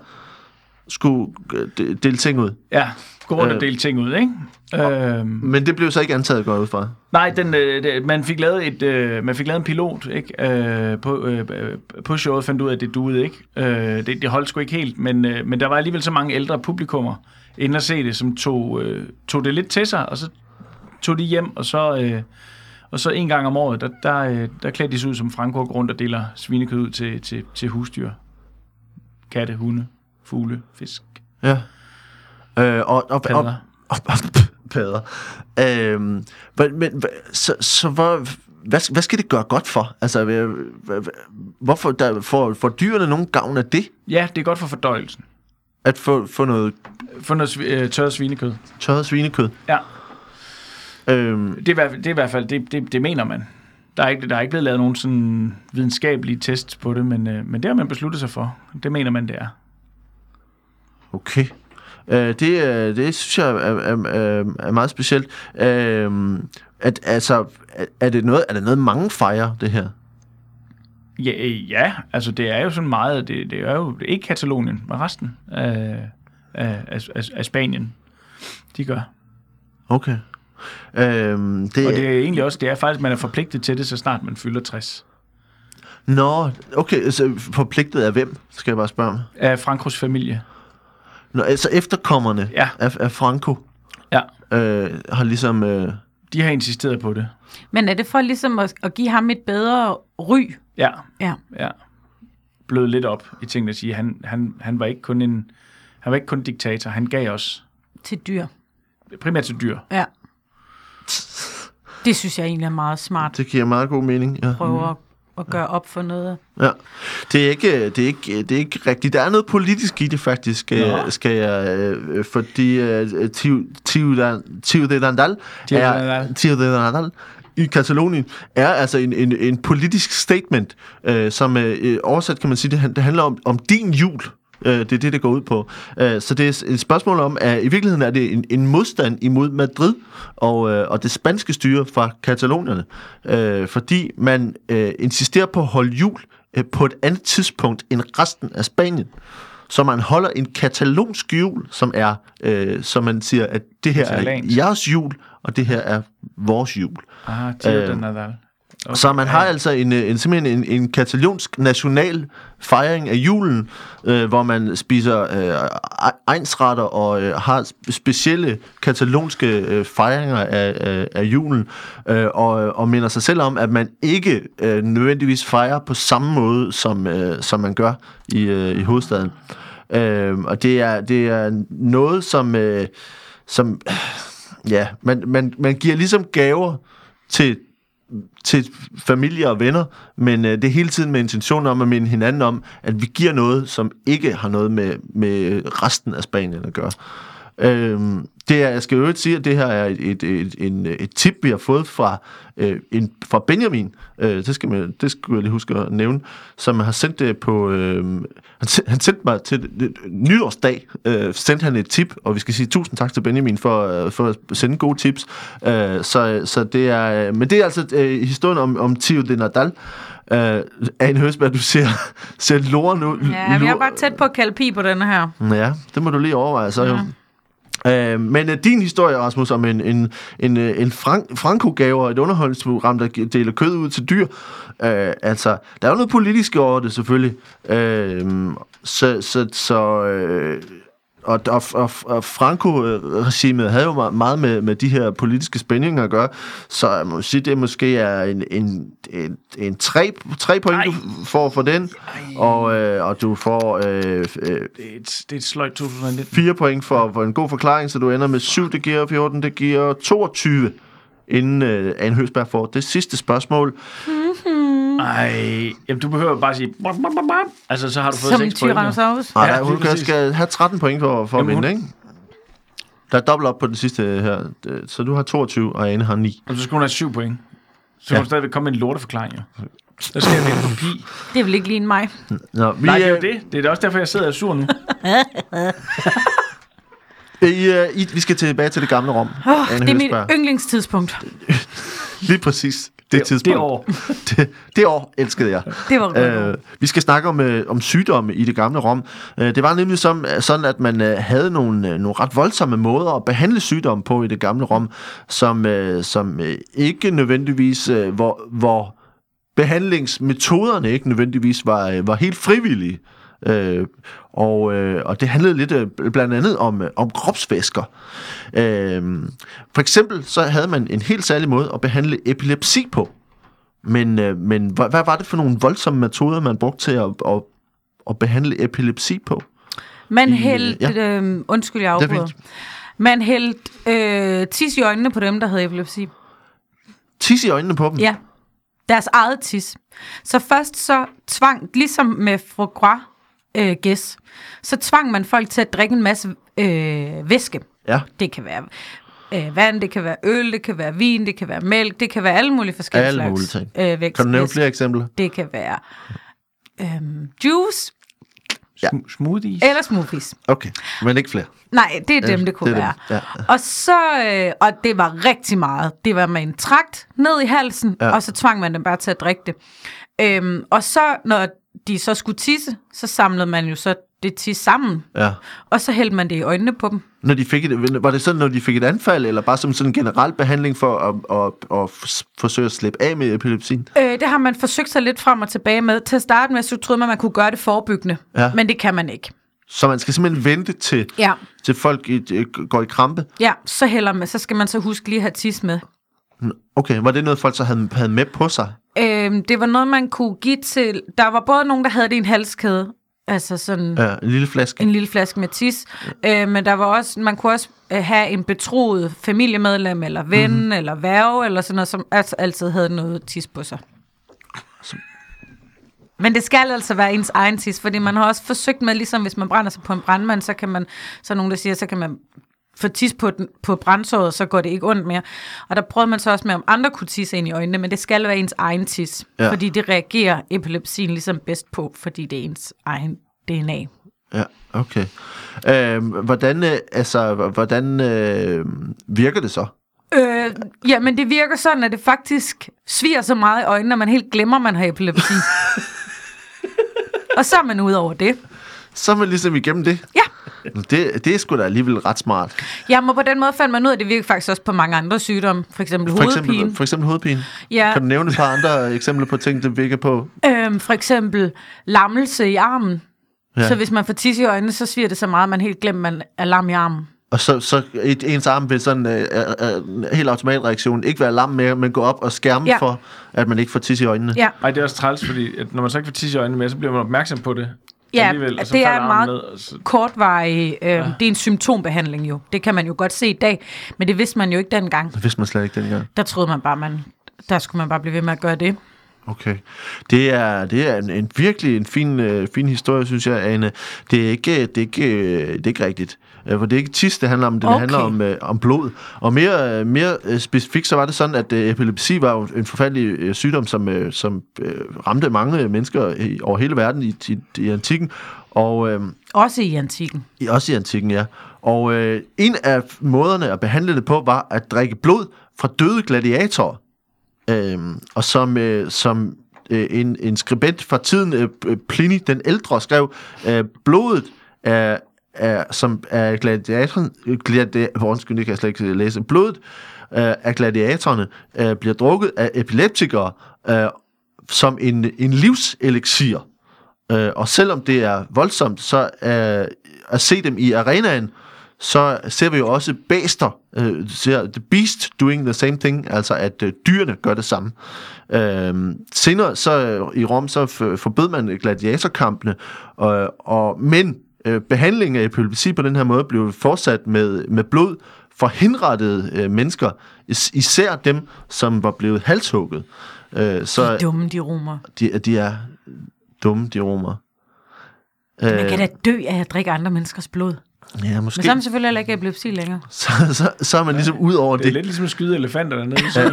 [SPEAKER 1] skulle øh, de- dele ting ud.
[SPEAKER 3] ja. Gå rundt og
[SPEAKER 1] Øh.
[SPEAKER 3] dele ting ud, ikke? Øhm,
[SPEAKER 1] Men det blev så ikke antaget godt ud fra.
[SPEAKER 3] Nej, den, øh, det- man, fik lavet et, øh, man fik lavet en pilot ikke? Øh, på, øh, øh, på showet, fandt ud af, at det duede ikke. Øh, det, det holdt sgu ikke helt, men, øh, men der var alligevel så mange ældre publikummer inden at se det, som tog, øh, tog det lidt til sig, og så tog de hjem, og så, øh, og så en gang om året, der, der, øh, der klædte de sig ud som Franco og går rundt og deler svinekød ud til, til, til husdyr. Katte, hunde, fugle, fisk,
[SPEAKER 1] Ja. Øh, og, og, og,
[SPEAKER 3] padder.
[SPEAKER 1] og, og padder. Øhm, men, men hva- så, så hvor, hvad, hvad skal det gøre godt for? Altså, hvad- hvad- hvad- hvorfor der, får, får dyrene nogen gavn af det?
[SPEAKER 3] Ja, det er godt for fordøjelsen.
[SPEAKER 1] At få, få noget
[SPEAKER 3] For noget svi- øh, tørret svinekød.
[SPEAKER 1] tørret svinekød?
[SPEAKER 3] Ja.
[SPEAKER 1] Øhm,
[SPEAKER 3] Det er, i hvert fald- det er i hvert fald, det, det, det mener man. Der er, ikke, der er ikke blevet lavet nogen sådan videnskabelige tests på det, men, øh, men det har man besluttet sig for. Det mener man, det er.
[SPEAKER 1] Okay. Øh, det, øh, det synes jeg er, er, er, er meget specielt. Øh, at, altså, er- er det, noget, er det noget, mange fejrer, det her?
[SPEAKER 3] Ja, øh, ja altså det er jo sådan meget, det, det er jo ikke Katalonien, men resten af, af, af, af, af Spanien, de gør.
[SPEAKER 1] Okay. Øh, det,
[SPEAKER 3] Og
[SPEAKER 1] det...
[SPEAKER 3] det er egentlig også, det er faktisk, man er forpligtet til det, så snart man fylder 60.
[SPEAKER 1] Nå, okay, så forpligtet af hvem, skal jeg bare spørge om.
[SPEAKER 3] Af Frankos familie.
[SPEAKER 1] Nå, altså efterkommerne
[SPEAKER 3] Ja.
[SPEAKER 1] af, af Franco
[SPEAKER 3] Ja,
[SPEAKER 1] øh, har ligesom... Øh,
[SPEAKER 3] de har insisteret på det.
[SPEAKER 2] Men er det for ligesom at, at give ham et bedre ry?
[SPEAKER 3] Ja,
[SPEAKER 2] Ja.
[SPEAKER 3] ja. Blød lidt op i tingene at sige, han, han, han var ikke kun en, han var ikke kun diktator, han gav os
[SPEAKER 2] Til dyr.
[SPEAKER 3] primært til dyr.
[SPEAKER 2] Ja. Det synes jeg egentlig er meget smart.
[SPEAKER 1] det giver meget god mening, ja.
[SPEAKER 2] Prøver at at gøre op for noget.
[SPEAKER 1] Ja. Det, er ikke, det, er ikke, det er ikke rigtigt. Der er noget politisk i det, faktisk, Nå.
[SPEAKER 3] Nå.
[SPEAKER 1] skal jeg... øh, Fordi øh, Tiu- Ciudan- Ciudadandal er...
[SPEAKER 3] Ciudadandal.
[SPEAKER 1] Ciudadandal i Katalonien, er altså en, en, en politisk statement, øh, som øh, øh, oversat kan man sige, det, han- det handler om, om din jul. Øh, det er det, det går ud på. Øh, så det er s- et spørgsmål om, at i virkeligheden er det en, en modstand imod Madrid og, øh, og det spanske styre fra katalonerne, øh, fordi man øh, insisterer på at holde jul øh, på et andet tidspunkt end resten af Spanien. Så man holder en katalonsk jul, som er, øh, som man siger, at det her er
[SPEAKER 3] Katalansk.
[SPEAKER 1] jeres jul, og det her er vores jul.
[SPEAKER 3] Ah, Tio Nadal.
[SPEAKER 1] Okay, Øh, så man har altså en, øh, en simpelthen en, en katalonsk national fejring af julen, øh, hvor man spiser øh, e- egnsretter og øh, har sp- specielle katalonske øh, fejringer af, af, af julen, øh, og, og minder sig selv om, at man ikke øh, nødvendigvis fejrer på samme måde, som, øh, som man gør i, øh, i hovedstaden. Øh, og det er, det er noget, som... Øh, som ja, man, man, man giver ligesom gaver til til familie og venner, men øh, det er hele tiden med intention om at minde hinanden om, at vi giver noget, som ikke har noget med, med resten af Spanien at gøre. Øhm, det er, jeg skal jo øvrigt sige, at det her er et, et, et, en, et tip, vi har fået fra, øh, en, fra Benjamin, øh, det, skal man, det skulle jeg lige huske at nævne, som har sendt det på, øh, han, sen- han sendte mig til øh, nytårsdag, øh, sendte han et tip, og vi skal sige tusind tak til Benjamin for, øh, for at sende gode tips. Øh, så, så det er, men det er altså øh, historien om, om Tio de Nadal, øh, Anne Høsberg, du ser, ser loren ud.
[SPEAKER 2] Ja, vi er
[SPEAKER 1] lur-
[SPEAKER 2] bare tæt på at kalde pi på den her.
[SPEAKER 1] Ja, det må du lige overveje så jo. Øh, men øh, din historie, Rasmus, om en, en, en, øh, en frank, frankogaver, et underholdningsprogram, der gi- deler kød ud til dyr, øh, altså, der er jo noget politisk over det selvfølgelig. Øh, så, så, så øh, og, og, og, og Franco-regimet havde jo me- meget med, med de her politiske spændinger at gøre, så jeg må sige, det måske er en, en, en, en tre, tre point, du får for den, og, øh, og du får øh, øh,
[SPEAKER 3] Det er et, det er et sløjt 2019.
[SPEAKER 1] 4 point for, for en god forklaring, så du ender med 7, det giver 14, det giver 22, inden øh, Anne Høsberg får det sidste spørgsmål.
[SPEAKER 2] Hmm.
[SPEAKER 3] Ej, jamen du behøver bare sige... "Bop, bop, bop, bop." Altså, så har du fået
[SPEAKER 2] Som en
[SPEAKER 3] 6 point. jo.
[SPEAKER 2] Tyrannosaurus.
[SPEAKER 1] Og
[SPEAKER 3] Ja,
[SPEAKER 1] ja, hun
[SPEAKER 3] lige
[SPEAKER 1] kan,
[SPEAKER 3] præcis.
[SPEAKER 1] skal have 13 point for, for at
[SPEAKER 3] Jamen,
[SPEAKER 1] vinde,
[SPEAKER 3] hun-
[SPEAKER 1] ikke? Der er dobbelt op på den sidste her, Øh, så du har 22, og Anne har 9.
[SPEAKER 3] Jamen, så skulle hun have 7 point. Så kunne
[SPEAKER 1] Ja.
[SPEAKER 3] hun stadigvæk komme med en lorteforklaring, jo. Der skal jeg en kopi.
[SPEAKER 2] Det vil ikke ligne mig.
[SPEAKER 1] Nå, vi,
[SPEAKER 3] Nej, det er
[SPEAKER 1] øh,
[SPEAKER 3] jo det. Det er da også derfor, jeg sidder og er sur nu.
[SPEAKER 1] I, øh, I, vi skal tilbage til det gamle Rom,
[SPEAKER 2] Oh,
[SPEAKER 1] Anne
[SPEAKER 2] det er mit
[SPEAKER 1] Høsberg.
[SPEAKER 2] yndlingstidspunkt.
[SPEAKER 1] Lige præcis det, det tidspunkt.
[SPEAKER 3] Det år.
[SPEAKER 1] det, det år elskede jeg.
[SPEAKER 2] Det var et godt
[SPEAKER 1] øh, Vi skal snakke om, øh, om sygdomme i det gamle Rom. Øh, det var nemlig som, sådan, at man øh, havde nogle, øh, nogle ret voldsomme måder at behandle sygdomme på i det gamle Rom, som, øh, som øh, ikke nødvendigvis, øh, hvor, hvor behandlingsmetoderne ikke nødvendigvis var, øh, var helt frivillige. Øh, og, øh, og det handlede lidt øh, blandt andet om, øh, om kropsvæsker. Øh, for eksempel så havde man en helt særlig måde at behandle epilepsi på. Men, øh, men hvad, hvad var det for nogle voldsomme metoder, man brugte til at, at, at behandle epilepsi på?
[SPEAKER 2] Man
[SPEAKER 1] I, øh,
[SPEAKER 2] hældte, ja. øh, undskyld, jeg
[SPEAKER 1] Det er
[SPEAKER 2] afbryder. Man hældte øh, tis i øjnene på dem, der havde epilepsi.
[SPEAKER 1] Tis i øjnene på dem?
[SPEAKER 2] Ja, deres eget tis. Så først så tvang, ligesom med Frogrois øh, gæs, så tvang man folk til at drikke en masse øh, væske.
[SPEAKER 1] ja.
[SPEAKER 2] Det kan være øh, vand, det kan være øl, det kan være vin, det kan være mælk, det kan være alle mulige forskellige
[SPEAKER 1] Alle
[SPEAKER 2] slags
[SPEAKER 1] mulige ting.
[SPEAKER 2] Øh, vækst,
[SPEAKER 1] Kan du nævne flere eksempler?
[SPEAKER 2] Det kan være øh, juice
[SPEAKER 1] Ja.
[SPEAKER 3] Sm- Smoothies.
[SPEAKER 2] eller smoothies.
[SPEAKER 1] Okay, men ikke flere.
[SPEAKER 2] Nej, det er dem, det kunne
[SPEAKER 1] det er
[SPEAKER 2] være.
[SPEAKER 1] dem,
[SPEAKER 2] Og så, øh, og det var rigtig meget. Det var med en trakt ned i halsen,
[SPEAKER 1] Ja.
[SPEAKER 2] ja. og så tvang man dem bare til at drikke det. Øhm, og så, når de så skulle tisse, så samlede man jo så det tis sammen,
[SPEAKER 1] Ja.
[SPEAKER 2] og så hældte man det i øjnene på dem.
[SPEAKER 1] Når de fik et, var det sådan, når de fik et anfald, eller bare som sådan en generel behandling for at, at, at, at s- forsøge at slippe af med epilepsien?
[SPEAKER 2] Øh, det har man forsøgt sig lidt frem og tilbage med. Til at starte med, så troede man, man kunne gøre det forebyggende,
[SPEAKER 1] Ja.
[SPEAKER 2] men det kan man ikke.
[SPEAKER 1] Så man skal simpelthen vente til,
[SPEAKER 2] Ja.
[SPEAKER 1] til folk i, øh, går i krampe?
[SPEAKER 2] Ja, så hælder man, så skal man så huske lige at have tis med.
[SPEAKER 1] Okay, var det noget, folk så havde, havde med på sig?
[SPEAKER 2] Øhm, det var noget, man kunne give til... Der var både nogen, der havde det i en halskæde, altså sådan...
[SPEAKER 1] Ja, en lille flaske?
[SPEAKER 2] en lille flaske med tis. Øh, men der var også, man kunne også øh, have en betroet familiemedlem, eller ven, mm-hmm. eller værve, eller sådan noget, som altså altid havde noget tis på sig. Men det skal altså være ens egen tis, fordi man har også forsøgt med, ligesom hvis man brænder sig på en brandmand, så kan man, så er nogen der siger, så kan man få tis på, den- på brændsåret, så går det ikke ondt mere. Og der prøvede man så også med, om andre kunne tisse ind i øjnene, men det skal være ens egen tis,
[SPEAKER 1] Ja.
[SPEAKER 2] ja. fordi det reagerer epilepsien ligesom bedst på, fordi det er ens egen DNA.
[SPEAKER 1] Ja, okay. Øhm, hvordan, øh, altså, h- hvordan øh, virker det så?
[SPEAKER 2] Øh, ja, men det virker sådan, at det faktisk sviger så meget i øjnene, at man helt glemmer, man har epilepsi. og så er man ud over det.
[SPEAKER 1] Så er man ligesom igennem det.
[SPEAKER 2] Ja.
[SPEAKER 1] Det, det er sgu da alligevel ret smart.
[SPEAKER 2] Ja, men på den måde fandt man ud af, at det virker faktisk også på mange andre sygdomme. For eksempel
[SPEAKER 1] For
[SPEAKER 2] hovedpine.
[SPEAKER 1] eksempel, for eksempel hovedpine.
[SPEAKER 2] Ja.
[SPEAKER 1] Kan du nævne et par andre eksempler på ting, der virker på?
[SPEAKER 2] Øhm, for eksempel lammelse i armen.
[SPEAKER 1] Ja.
[SPEAKER 2] Ja. Så hvis man får tis i øjnene, så sviger det så meget, at man helt glemmer, man er lam i armen.
[SPEAKER 1] Og så, så et, ens arm vil sådan øh, øh, øh, en helt automatreaktion ikke være lam mere, men gå op og skærme ja.
[SPEAKER 2] Ja.
[SPEAKER 1] for, at man ikke får tis i øjnene.
[SPEAKER 2] Ja,
[SPEAKER 3] Ej, det er også træls, fordi at når man så ikke får tisse i øjnene mere, så bliver man opmærksom på det.
[SPEAKER 2] ja
[SPEAKER 3] alligevel, og så
[SPEAKER 2] det er
[SPEAKER 3] falder
[SPEAKER 2] en
[SPEAKER 3] armen
[SPEAKER 2] meget
[SPEAKER 3] ned, og så,
[SPEAKER 2] kortvarig... Øh, ja. Det er en symptombehandling jo. Det kan man jo godt se i dag, men det vidste man jo ikke dengang.
[SPEAKER 1] Det vidste man slet ikke dengang.
[SPEAKER 2] Der troede man bare, man... Der skulle man bare blive ved med at gøre det.
[SPEAKER 1] Okay. Det er, det er en, en virkelig en fin, øh, fin historie, synes jeg, Ane. Det er ikke, det er ikke, øh, det er ikke rigtigt. Øh, For det er ikke tis, det handler om. Det okay.
[SPEAKER 2] Okay.
[SPEAKER 1] handler om, øh, om blod. Og mere, øh, mere øh, specifikt, så var det sådan, at øh, epilepsi var jo en forfærdelig øh, sygdom, som, øh, som øh, ramte mange øh, mennesker i, over hele verden i, i, i antikken. Og... Øh,
[SPEAKER 2] Også i antikken.
[SPEAKER 1] i, også i antikken, ja. Og øh, en af måderne at behandle det på var at drikke blod fra døde gladiatorer. Øhm, og som, øh, som øh, en, en skribent fra tiden, øh, øh, Pliny den ældre, skrev, øh, blodet er, er, som er gladiatoren, øh, gladi, hvor, undskyld, det kan jeg slet ikke læse, blodet øh, af gladiatorerne øh, bliver drukket af epileptikere øh, som en, en livselixir. Øh, og selvom det er voldsomt, så øh, at se dem i arenaen, så ser vi jo også bæster, øh, ser the beast doing the same thing, altså at øh, dyrene gør det samme. Øh, senere så øh, i Rom, så f- forbød man gladiatorkampene, øh, og, men øh, behandlingen af epilepsi på den her måde blev fortsat med, med blod for henrettede øh, mennesker, is- især dem, som var blevet halshugget. Øh, så
[SPEAKER 2] Dumme de romer.
[SPEAKER 1] de, de er dumme, de romer. Øh,
[SPEAKER 2] Man kan da dø af at drikke andre menneskers blod.
[SPEAKER 1] Ja,
[SPEAKER 2] Men
[SPEAKER 1] måske.
[SPEAKER 2] så er man selvfølgelig heller ikke epilepsi længere.
[SPEAKER 1] Så, så, så er man ligesom ud over
[SPEAKER 3] det er
[SPEAKER 1] det.
[SPEAKER 3] lidt ligesom at skyde elefanter dernede. Så.
[SPEAKER 1] Ja,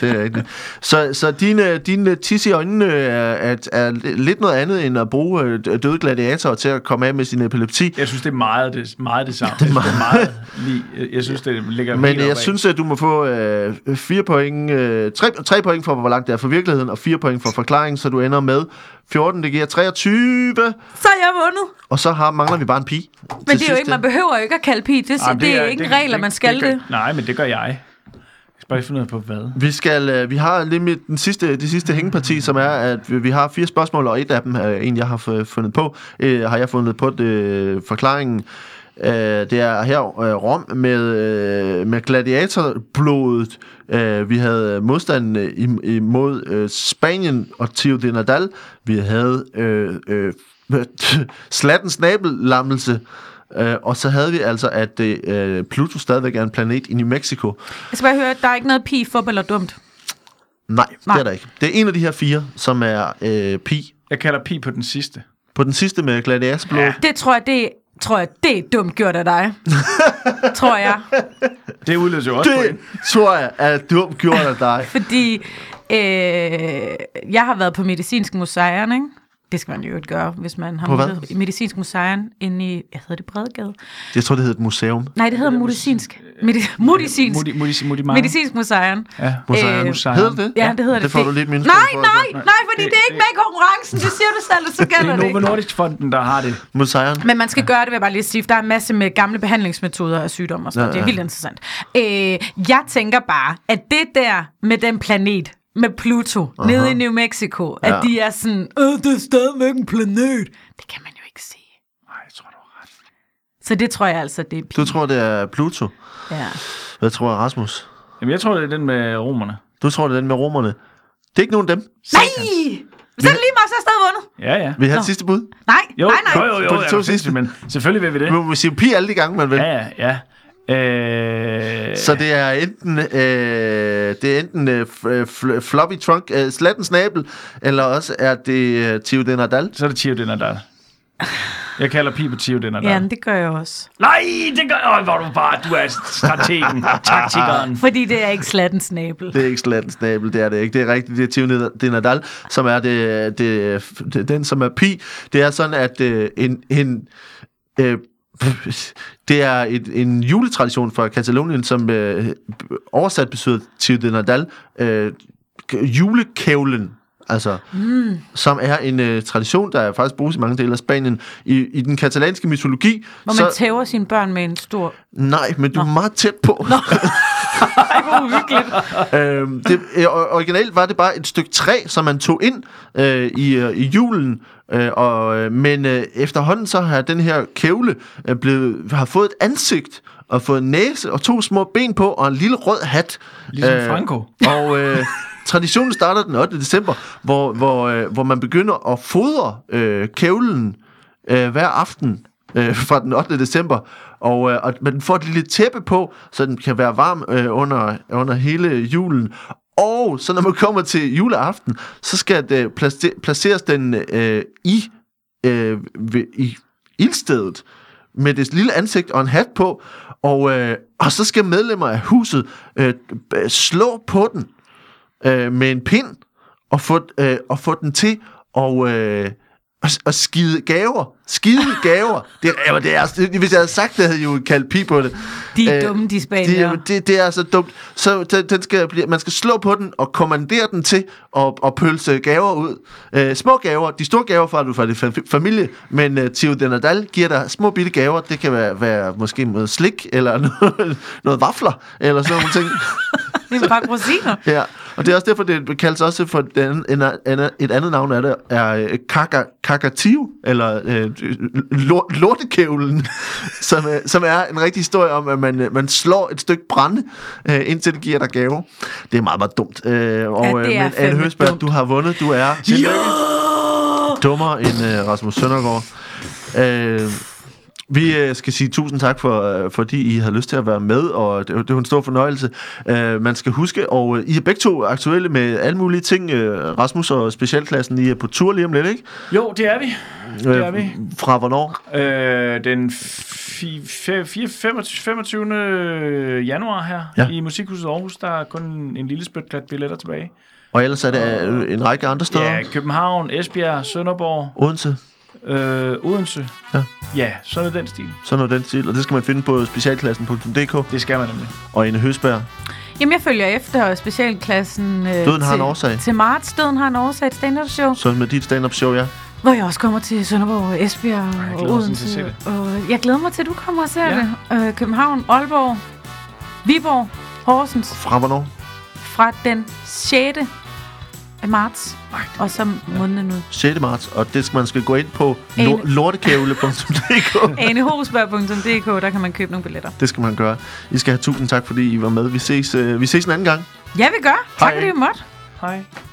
[SPEAKER 1] det er rigtigt. Så, så øh, dine, dine tis i øjnene er, er, er lidt noget andet end at bruge øh, døde gladiatorer til at komme af med sin epilepsi.
[SPEAKER 3] Jeg synes, det er meget det, meget det samme. Det er meget, lige, jeg synes, det ligger
[SPEAKER 1] Men
[SPEAKER 3] helt
[SPEAKER 1] jeg
[SPEAKER 3] opad.
[SPEAKER 1] synes, at du må få øh, 4 point, øh, 3, 3 point for, hvor langt det er for virkeligheden, og 4 point for forklaringen, så du ender med 14, det giver 23,
[SPEAKER 2] Så er jeg vundet.
[SPEAKER 1] og så har, mangler vi bare en pige.
[SPEAKER 2] Men det er jo ikke, man behøver jo ikke at kalde pi. Det,
[SPEAKER 3] Ej,
[SPEAKER 2] Jamen, det, er ikke en regel, at man skal det.
[SPEAKER 3] gør, Nej, men det gør jeg. Jeg skal bare lige finde ud af på hvad.
[SPEAKER 1] Vi skal, øh, vi har lige med den sidste, det sidste hængeparti, som er, at vi vi har fire spørgsmål, og et af dem er en, jeg har fu- fundet på. Øh, har jeg fundet på det, øh, forklaringen. Øh, det er her øh, Rom med, øh, med gladiatorblodet. Øh, vi havde modstanden øh, im- imod øh, Spanien og Tio de Nadal. Vi havde øh, øh, slattens nabellammelse. Øh, og så havde vi altså, at øh, Pluto stadigvæk er en planet i New Mexico.
[SPEAKER 2] Jeg skal Altså, bare høre, der er ikke noget pi, fup eller dumt.
[SPEAKER 1] Nej, Nej,
[SPEAKER 2] Nej.
[SPEAKER 1] det er der ikke. Det er en af de her fire, som er øh, pi.
[SPEAKER 3] Jeg kalder pi på den sidste.
[SPEAKER 1] På den sidste med gladiasblå. Ja.
[SPEAKER 2] Det tror jeg, det, tror jeg, det er dumt gjort af dig. tror jeg.
[SPEAKER 3] Det udløser jo også
[SPEAKER 1] Det
[SPEAKER 3] point.
[SPEAKER 1] tror jeg er dumt gjort af dig.
[SPEAKER 2] Fordi øh, jeg har været på medicinsk museum, ikke? Det skal man jo ikke gøre, hvis man har
[SPEAKER 1] På hvad?
[SPEAKER 2] mulighed- medicinsk museum inde i, jeg hedder det Bredegade.
[SPEAKER 1] Jeg tror, det hedder et museum.
[SPEAKER 2] Nej, det hedder medicinsk. Medi- medicinsk.
[SPEAKER 3] Mudi, mudi, mudi,
[SPEAKER 2] Medicinsk museum.
[SPEAKER 3] Ja.
[SPEAKER 1] Museum.
[SPEAKER 3] Museum.
[SPEAKER 1] Hedder det?
[SPEAKER 2] Ja, det Øh, hedder det.
[SPEAKER 1] Det får du lidt minus
[SPEAKER 2] Nej,
[SPEAKER 1] for.
[SPEAKER 2] nej, nej, fordi det, det er
[SPEAKER 3] Det-
[SPEAKER 2] ikke
[SPEAKER 3] det-
[SPEAKER 2] med i konkurrencen. Det siger du selv, og så
[SPEAKER 3] Det
[SPEAKER 2] gælder
[SPEAKER 3] er
[SPEAKER 2] det
[SPEAKER 3] Novo
[SPEAKER 2] ikke.
[SPEAKER 3] Nordisk Fonden, der har det.
[SPEAKER 1] Museum.
[SPEAKER 2] Men man skal gøre det, vil jeg bare lige sige, for der er en masse med gamle behandlingsmetoder og sygdomme og sådan noget.
[SPEAKER 1] Ja,
[SPEAKER 2] Det er vildt interessant. Øh, jeg tænker bare, at det der med den planet, med Pluto, uh-huh. nede i New Mexico, at
[SPEAKER 1] Ja.
[SPEAKER 2] de er sådan, øh, det er stadigvæk en planet. Det kan man jo ikke se.
[SPEAKER 3] Nej, jeg tror, du har ret.
[SPEAKER 2] Så det tror jeg altså, det er
[SPEAKER 1] Du
[SPEAKER 2] pigt.
[SPEAKER 1] tror, det er Pluto.
[SPEAKER 2] Ja.
[SPEAKER 1] Hvad tror jeg, Rasmus?
[SPEAKER 3] Jamen, jeg tror, det er den med romerne.
[SPEAKER 1] Du tror, det er den med romerne. Det er ikke nogen af dem.
[SPEAKER 2] Nej! Så er det lige mig, så er jeg stadig vundet.
[SPEAKER 3] Ja, ja.
[SPEAKER 1] Vi har et
[SPEAKER 2] Nå.
[SPEAKER 1] sidste bud.
[SPEAKER 2] Nej,
[SPEAKER 3] Jo,
[SPEAKER 2] nej, nej.
[SPEAKER 3] jo, jo, jo,
[SPEAKER 1] På de
[SPEAKER 3] er
[SPEAKER 1] to
[SPEAKER 3] du sindssyg,
[SPEAKER 1] sidste.
[SPEAKER 3] Men selvfølgelig vil vi det.
[SPEAKER 1] Vi må sige pi alle de gange, man vil.
[SPEAKER 3] Ja, ja, ja. Øh,
[SPEAKER 1] Så det er enten, øh, det er enten øh, f- fl- floppy trunk, øh, slatten snabel, eller også er det øh, Tio de Nadal.
[SPEAKER 3] så er det Tio Dinadal. Jeg kalder Pibe Tio Dinadal.
[SPEAKER 6] Ja, men det gør jeg også.
[SPEAKER 3] Nej, det gør... Øj, hvor er du bare... Du er strategen, taktikeren.
[SPEAKER 2] Fordi det er ikke slattens nabel.
[SPEAKER 1] Det er ikke slatten snabel, det er det ikke. Det er rigtigt, det er Tio de Nadal, som er det, det, det, den, som er pi. Det er sådan, at øh, en... en øh, det er et, en juletradition fra Katalonien, som øh, oversat betyder Tio de Nadal, øh, julekævlen. Altså,
[SPEAKER 2] Mm.
[SPEAKER 1] som er en øh, tradition, der er faktisk bruges i mange dele af Spanien. I, i den katalanske mytologi...
[SPEAKER 2] Hvor man tæver sine børn med en stor...
[SPEAKER 1] Nej, men du er meget tæt på. øhm, det, øh, or- originalt var det bare et stykke træ, som man tog ind øh, i, øh, i julen. Øh, og, øh, men øh, efterhånden så har den her kævle øh, blevet, har fået et ansigt, og fået en næse, og to små ben på, og en lille rød hat.
[SPEAKER 3] Ligesom Franco.
[SPEAKER 1] Og øh, traditionen starter den 8. december, hvor, hvor, øh, hvor man begynder at fodre øh, kævlen øh, hver aften øh, fra den 8. december. Og, øh, og man får et lille tæppe på, så den kan være varm øh, under, under hele julen. Og så når man kommer til juleaften, så skal det placer, placeres den øh, i, øh, ved, i ildstedet med det lille ansigt og en hat på. Og, øh, og så skal medlemmer af huset øh, b- slå på den øh, med en pind og få, øh, og få den til at, øh, at, at skide gaver. Skide gaver. Det, er, altså, det er, hvis jeg havde sagt det, havde I jo kaldt pi på det.
[SPEAKER 2] De er dumme, de spaniere.
[SPEAKER 1] Det, er jo- det, det er så dumt. Så den, den skal, blive- man skal slå på den og kommandere den til at, at pølse gaver ud. Øh, små gaver. De store gaver får du fra din fa- familie, men øh, Tio de Nadal giver dig små bitte gaver. Det kan være, være måske noget slik, eller noget, noget vafler, eller sådan nogle ting.
[SPEAKER 2] Det er bare rosiner.
[SPEAKER 1] Ja, og det er også derfor, det kaldes også for den anden, en, en, et andet navn af det, er øh, kaka, kakativ, eller øh, lort, lortekævlen, som, øh, som er en rigtig historie om, at man, øh, man slår et stykke brænde, øh, indtil det giver dig gave. Det er meget, meget dumt. Øh, og,
[SPEAKER 2] Ja, det
[SPEAKER 1] øh, men
[SPEAKER 2] er
[SPEAKER 1] Anne
[SPEAKER 2] fandme
[SPEAKER 1] Høsberg,
[SPEAKER 2] dumt.
[SPEAKER 1] du har vundet. Du er dummere end øh, Rasmus Søndergaard. Øh, vi øh, skal sige tusind tak, for, øh, fordi I har lyst til at være med, og det, det var en stor fornøjelse. Øh, man skal huske, og øh, I er begge to aktuelle med alle mulige ting. Øh, Rasmus og specialklassen, I er på tur lige om lidt, ikke? Øh,
[SPEAKER 3] Jo, det er vi. Det er vi.
[SPEAKER 1] Fra hvornår?
[SPEAKER 3] Øh, den fi- fe- fire- 25. januar her
[SPEAKER 1] Ja.
[SPEAKER 3] ja. i Musikhuset Aarhus, der er kun en lille spytklat billetter tilbage.
[SPEAKER 1] Og ellers er det øh, en række andre steder.
[SPEAKER 3] Ja, København, Esbjerg, Sønderborg,
[SPEAKER 1] Odense,
[SPEAKER 3] øh, Odense.
[SPEAKER 1] Ja.
[SPEAKER 3] ja, sådan er den stil.
[SPEAKER 1] sådan noget den stil. Og det skal man finde på specialklassen.dk
[SPEAKER 3] Det skal man nemlig.
[SPEAKER 1] og Ine Høsberg.
[SPEAKER 2] Jamen, jeg følger efter specialklassen... Øh,
[SPEAKER 1] Døden har en
[SPEAKER 2] til,
[SPEAKER 1] årsag.
[SPEAKER 2] Til marts. Døden har en årsag. Et stand-up show.
[SPEAKER 1] Så med dit stand-up show, ja.
[SPEAKER 2] Hvor jeg også kommer til Sønderborg, og Esbjerg
[SPEAKER 3] jeg
[SPEAKER 2] og
[SPEAKER 3] glæder mig sådan til at
[SPEAKER 2] Odense. Og øh, jeg glæder mig til, at du kommer og ser ja. det. Øh, København, Aalborg, Viborg, Horsens
[SPEAKER 1] Fra hvornår?
[SPEAKER 2] fra den 6. af marts. Og så måneden ud.
[SPEAKER 1] 6. marts, og det skal man skal gå ind på
[SPEAKER 2] Ane.
[SPEAKER 1] lor- lortekævle.dk.
[SPEAKER 2] anehosberg.dk, der kan man købe nogle billetter.
[SPEAKER 1] Det skal man gøre. I skal have tusind tak, fordi I var med. Vi ses, øh, vi ses en anden gang.
[SPEAKER 2] Ja, vi gør. Tak
[SPEAKER 1] Hej.
[SPEAKER 2] fordi vi måtte.
[SPEAKER 3] Hej.